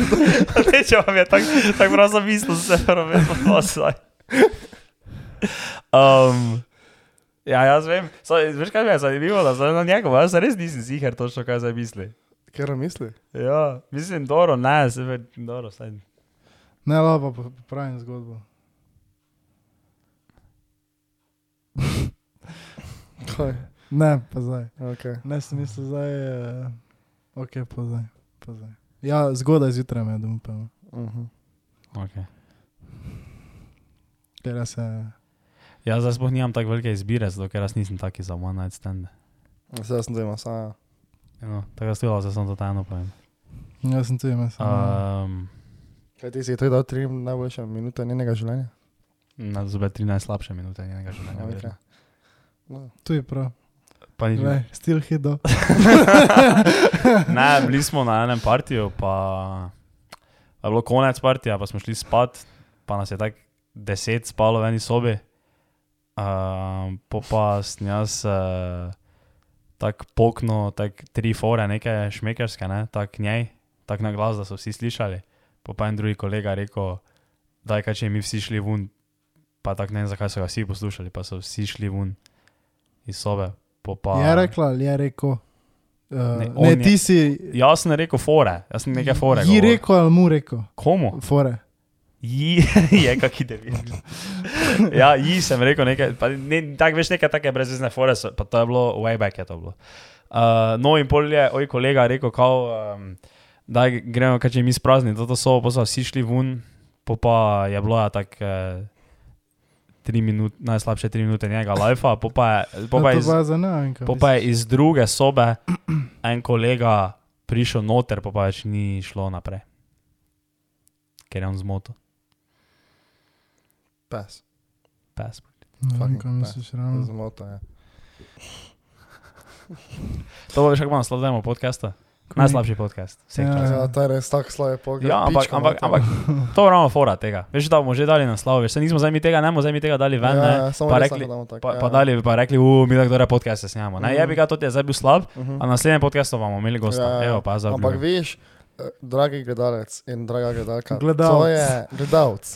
Reče vam je tako tak prav zamislil, se pravi, vedno vsaj. Um, ja, jaz vem. So, veš, kaj mi je zanimivo, da zdaj na njegovo, jaz res nisem ziger točno, kaj zdaj misli. Ker misli? Ja, mislim, dobro, ne, se ve, dobro, saj. Ne, lava, pa pravim zgodbo. Kaj? Ne, pa zdaj. Okay. Ne, sem mislil, zdaj je. Ok, pa zdaj. Pa zdaj. Ja, zgodaj zjutraj me je no. domov pel. Uh -huh. Okay. Ker jaz se. Jaz Ja, zdaj sploh nimam tako velike izbire, zato ker jaz nisem taki za one night stand. Zdaj sem dojma, samo. No, tako da stila, zdaj sem to tajno povem. Jaz Ja, sem tudi mesel. Um, Kaj ti si, to je dal tri najboljše minute njenega življenja? na zobe 13 slabše minute njenega življenja. Ja, verjetno. ok. No. Tu je prav. Pa nič. Glej, Still hido. ne, bili smo na enem partiju, pa pa je bilo konec partija, pa smo šli spat, pa nas je tako deset spalo v eni sobi. Um, po pa sem jaz uh, tako poknil, tako tri fore, neke šmekerske, ne, tako njej, tako na glas, da so vsi slišali. Po pa en drugi kolega je rekel, da je kaj, če bi mi vsi šli ven, pa tako ne vem, zakaj so ga vsi poslušali, po pa so vsi šli ven iz sobe. Po Pa, Je rekla ali je rekel? Uh, Ne, ne, on je- ne, ti si. Jaz sem rekel fore, jaz sem nekaj fore. Ji govoril. rekel ali mu rekel? Komu? Fore. Ji je, kak ide. ja, ji sem rekel nekaj, pa ne, tako veš nekaj take brezvezne fore, so- pa to je bilo, way back je to bilo. Uh, no in pol je, oj kolega rekel, kao, um, da gremo, kaj če mi sprazni, to so, pa so vsi šli ven, po pa je bilo ja tako. Uh, Tri minute, najslabše tri minute njega, lajfa, po pa je, po pa je je iz, zanimivo. Ja, Po pa je iz druge sobe en kolega prišel noter, pa pa več ni šlo naprej, ker je on zmotil, Pes. pes. Fucking, Fucking kaj misliš, Mhm. ravno. Zmota je. To bo še kako nas slavimo podcasta. Najslabši podcast. Vseh Ja. časov. Ja, to je res tako slave pogled. Ja, ampak, pička ampak, mater. ampak to je ravno fora tega. Veš, da bomo že dali naslov, veš, se nismo zdaj mi tega, ne bomo zdaj mi tega dali ven, ne, Ja, ja, samo pa res rekli- lahko damo tako, pa, ja. pa dali, pa rekli, uh, mi tako dobre podcaste snijamo. Ne, Mhm. je bi ga to ti je zdaj bil slab, Mhm. a naslednjem podcastu bomo imeli gosta. Ja, ja. Evo, pa za Ampak veš, eh, dragi gledalec in draga gledalka, Gledalec. to je gledalec.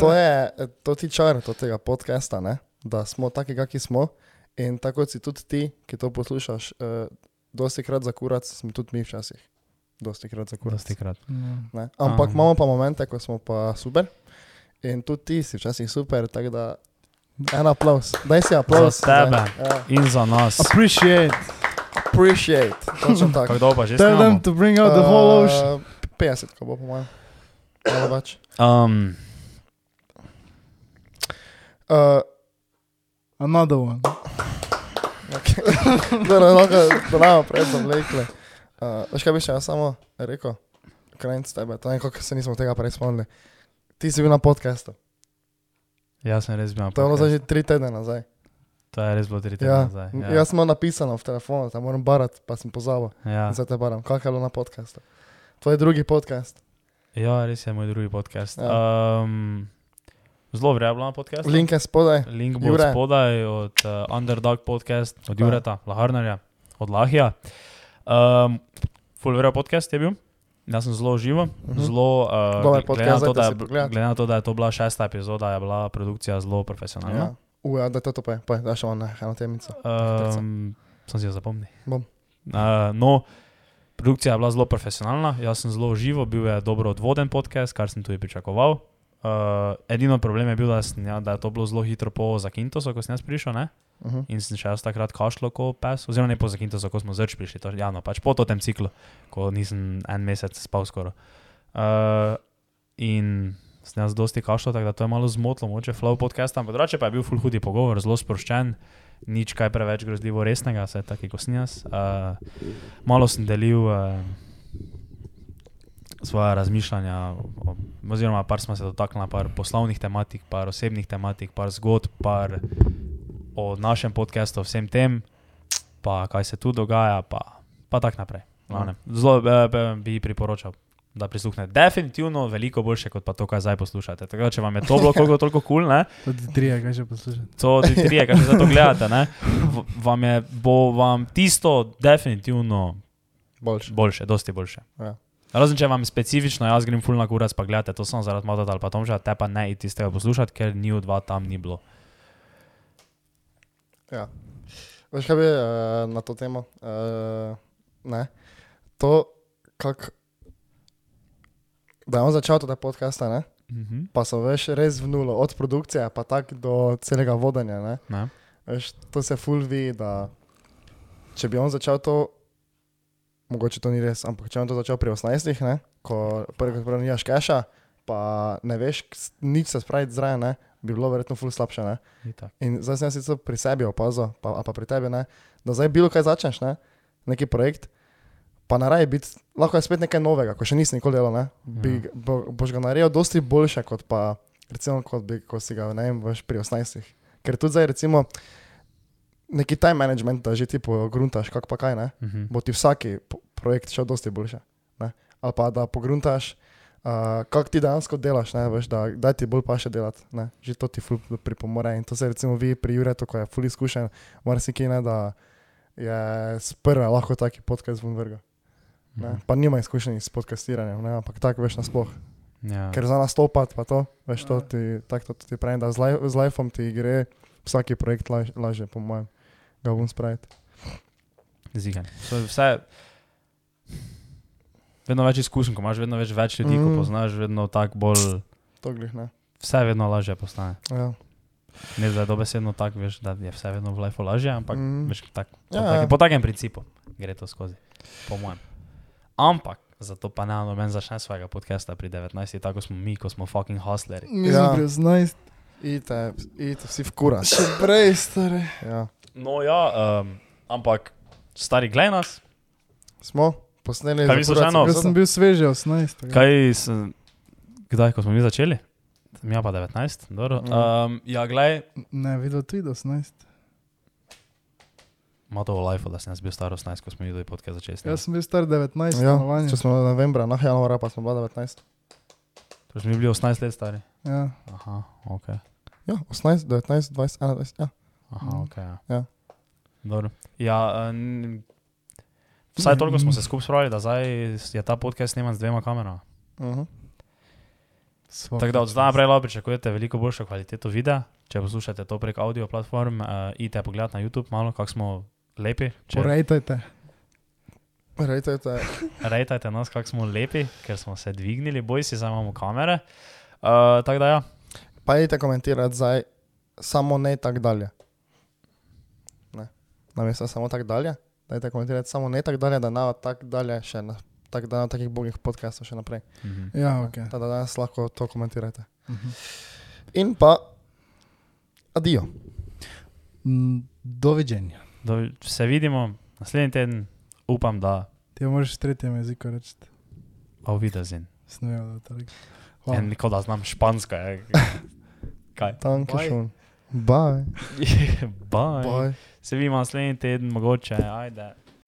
To je eh, to ti čar od tega podcasta, ne? da smo taki, kaki smo. In tako kot si tudi ti, ki to poslušaš, eh, dosti krat za kurac, smo tudi mi včasih. Dosti krat za kurac. Krat. Ne? Ampak Aha. imamo pa momente, ko smo pa super. In tudi ti si včasih super, tako da en aplaus. Daj si aplaus. Za tebe. zdaj. Ja. In za nas. Appreciate. Appreciate. Točno tako. Kako dolgo pa že Tell them snimamo? to bring out No, the whole Eh, ocean. 50, ko bo po mojem. Malo več. Um, Uh, Another one. okay. da ne no, lahko drama pred sem vlekle. Uh, veš kaj bi še jaz samo rekel? Krajnc tebe, to nekako se nismo tega prej spomnili. Ti si bil na podkastu. jaz sem res bil na To je bilo podcastu. zdaj že tri tedne nazaj. To je res bilo tri tedne Ja. nazaj. Ja. Ja. Jaz sem imel napisano v telefonu, da moram barati, pa sem pozabil. Ja. Ja. Zdaj te baram. Kaj je bilo na podkastu? Tvoj drugi podcast. ja, res je moj drugi podcast. Ja. Um, zelo vrebno podcast. Link je spodaj. Link bo Jure. Jure. spodaj od uh, Underdog podcast, od Ja. Jureta, Laharnarja, od Lahija. Um, Full Vera podcast je bil. Jaz sem zelo živo, Mhm. zelo Dober uh, glede, na podcast, to, dajte da je, si pogledati. glede na to, da je to bila šesta epizoda, je bila produkcija zelo profesionalna. Ja. Uja, da to pa je. Pa je, da še on eno temico. Ja. Um, sem si jo zapomnil. Bom. Uh, no, produkcija je bila zelo profesionalna, jaz sem zelo živo, bil je dobro odvoden podcast, kar sem tudi pričakoval. Uh, edino problem je bil, da, sem, ja, da je to bilo zelo hitro po Zakintosu, ko sem jaz prišel. Ne? Uh -huh. In sem še jaz takrat kašlo, ko pes, oziroma ne po Zakintosu, ko smo zrč prišli, to, javno, pač po tem ciklu, ko nisem en mesec spal skoraj. Uh, in sem jaz dosti kašlo, tako da to je malo zmotilo, moče flow podcast, ampak drugače pa je bil full hudi pogovor, zelo sproščen, nič kaj preveč grozljivo resnega, vse tako kot sem jaz. Uh, malo sem delil uh, svoje razmišljanja, o- oziroma par smo se dotaknili, par poslovnih tematik, par osebnih tematik, par zgodb, par o našem podkastu, vsem tem, pa kaj se tu dogaja, pa, pa tako naprej. V glavnem, Zelo eh, eh, bi priporočal. Da prisluhnete, definitivno veliko boljše kot pa to, kar zdaj poslušate. Tako da, če vam je to bilo koliko toliko kul, cool, ne, Tudi trije, kaj še poslušati. to ti trije, ki že to gledate, ne, v- vam je, bo vam tisto definitivno boljše. boljše, dosti boljše. Ja. Razen če vam specifično, jaz grem fulna kurac, pa gledate to samo zaradi Mata ali pa Tomža, te pa ne iti tega poslušati, ker ni v dva tam ni bilo. Veš kaj bi uh, na to temo? Uh, ne. To, kako. Da je on začel te podcaste, ne? Mhm. pa so veš res v nulo, od produkcije pa tako do celega vodenja. Ne? Ne. Veš, to se ful vidi, da če bi on začel to, mogoče to ni res, ampak če bi on to začel pri 18, ne, ko prvi kot prvi nimaš keša, pa ne veš k- nič se spraviti zraven, ne, bi bilo verjetno ful slabše. Ne. Itak. In zdaj sem jaz sicer pri sebi opazil, pa, a pa pri tebi, ne, da zdaj bilo kaj začneš, ne, neki projekt, pa naraje biti, lahko je spet nekaj novega, ko še nisi nikoli delal, ne, bi, Ja. bo, boš ga naredil dosti boljše, kot pa recimo, kot bi, ko si ga, ne vem, veš pri 18. Ker tudi zdaj recimo neki time management, da že ti pogruntaš, kak pa kaj, ne, Mhm. bo ti vsaki po- projekt šel dosti boljše, ne, ali pa da pogruntaš. Uh, kako ti dejansko delaš, ne, veš, da, da ti bolj paše delati, ne, že to ti ful pripomore. In to se recimo vi pri Juretu, ko je ful izkušen, marsikaj ne, da je sprva lahko taki podcast ven vrga. mhm. Ne? Pa nima izkušenj s podcastiranjem, ne? ampak tako veš nasploh. Ja. Ker za nastopati, pa to, veš, to Ja. ti, tako to ti pravim, da z, laj, z lifeom ti gre vsaki projekt laž, lažje, po mojem, ga bom spraviti. Zigan. Vse, vedno več izkušenj, ko imaš vedno več, več ljudi, mm. ko Mm. poznaš, vedno tako bolj, To glih ne. vse vedno lažje postane. Ja. Ne da je dobesedno tako, veš, da je vse vedno v life lažje, ampak mm. Mm. veš, tak, po, Ja, ja. take, ja. po takem principu gre to skozi, po mojem. Ampak, zato pa ne, noben začne svojega podcasta pri 19, tako smo mi, ko smo fucking hustleri. Mi smo Ja. pri 18, Ite, ite vsi v kuras. še prej, stari. Ja. No ja, um, ampak stari glej nas, Smo Kaj posneli. za misliš, kurac eno? Jaz epizodo? sem bil sveže 18. No, Mm. kaj, s, kdaj, ko smo mi začeli? Ja, pa 19, dobro. Ja. Um, ja, glej, Ne, videl tudi 18. ima to v life, da sem jaz bil star 18, ko smo videli podcast začeli. Jaz snemati. sem bil star 19, Ja, stanovanje. če smo novembra, nah januara pa smo bila 19. Torej smo mi bili 18 let stari. Ja. Aha, ok. Ja, 18, 19, 20, 21. Ja. Aha, Mhm. ok. Ja. Ja. Dobro. Ja, en, vsaj toliko smo se skupaj spravili, da zdaj je ta podcast sneman z dvema kamerama. Uh Mhm. -huh. Svaka Tako da od čast. zdaj naprej lahko pričakujete veliko boljšo kvaliteto videa. Če poslušate to prek audio platform, uh, idite pogledat na YouTube malo, kako smo lepi. Če Porejtajte. Rejte, rejtajte nas, kako smo lepi, ker smo se dvignili, boj si zdaj imamo kamere. Uh, tako da ja. Pojdite komentirati zdaj, samo ne tako dalje. Ne. Namesto samo tako dalje, dajte komentirati samo ne tako dalje, da ne tako dalje še na. Tako da na takih bogih podcastov še naprej. Mhm. Ja, ok. Tako da danes lahko to komentirate. Mhm. In pa, adijo. Mm, Doviđenja. Do, se vidimo naslednji teden, upam, da Ti moraš v tretjem jeziku reči. bo videl zin. Snujejo, da tako. Hvala. En nikoli da znam špansko. Je. Kaj? Tanki Bye. šun. Bye. Bye. Bye. Bye. Se vidimo naslednji teden, mogoče. Ajde.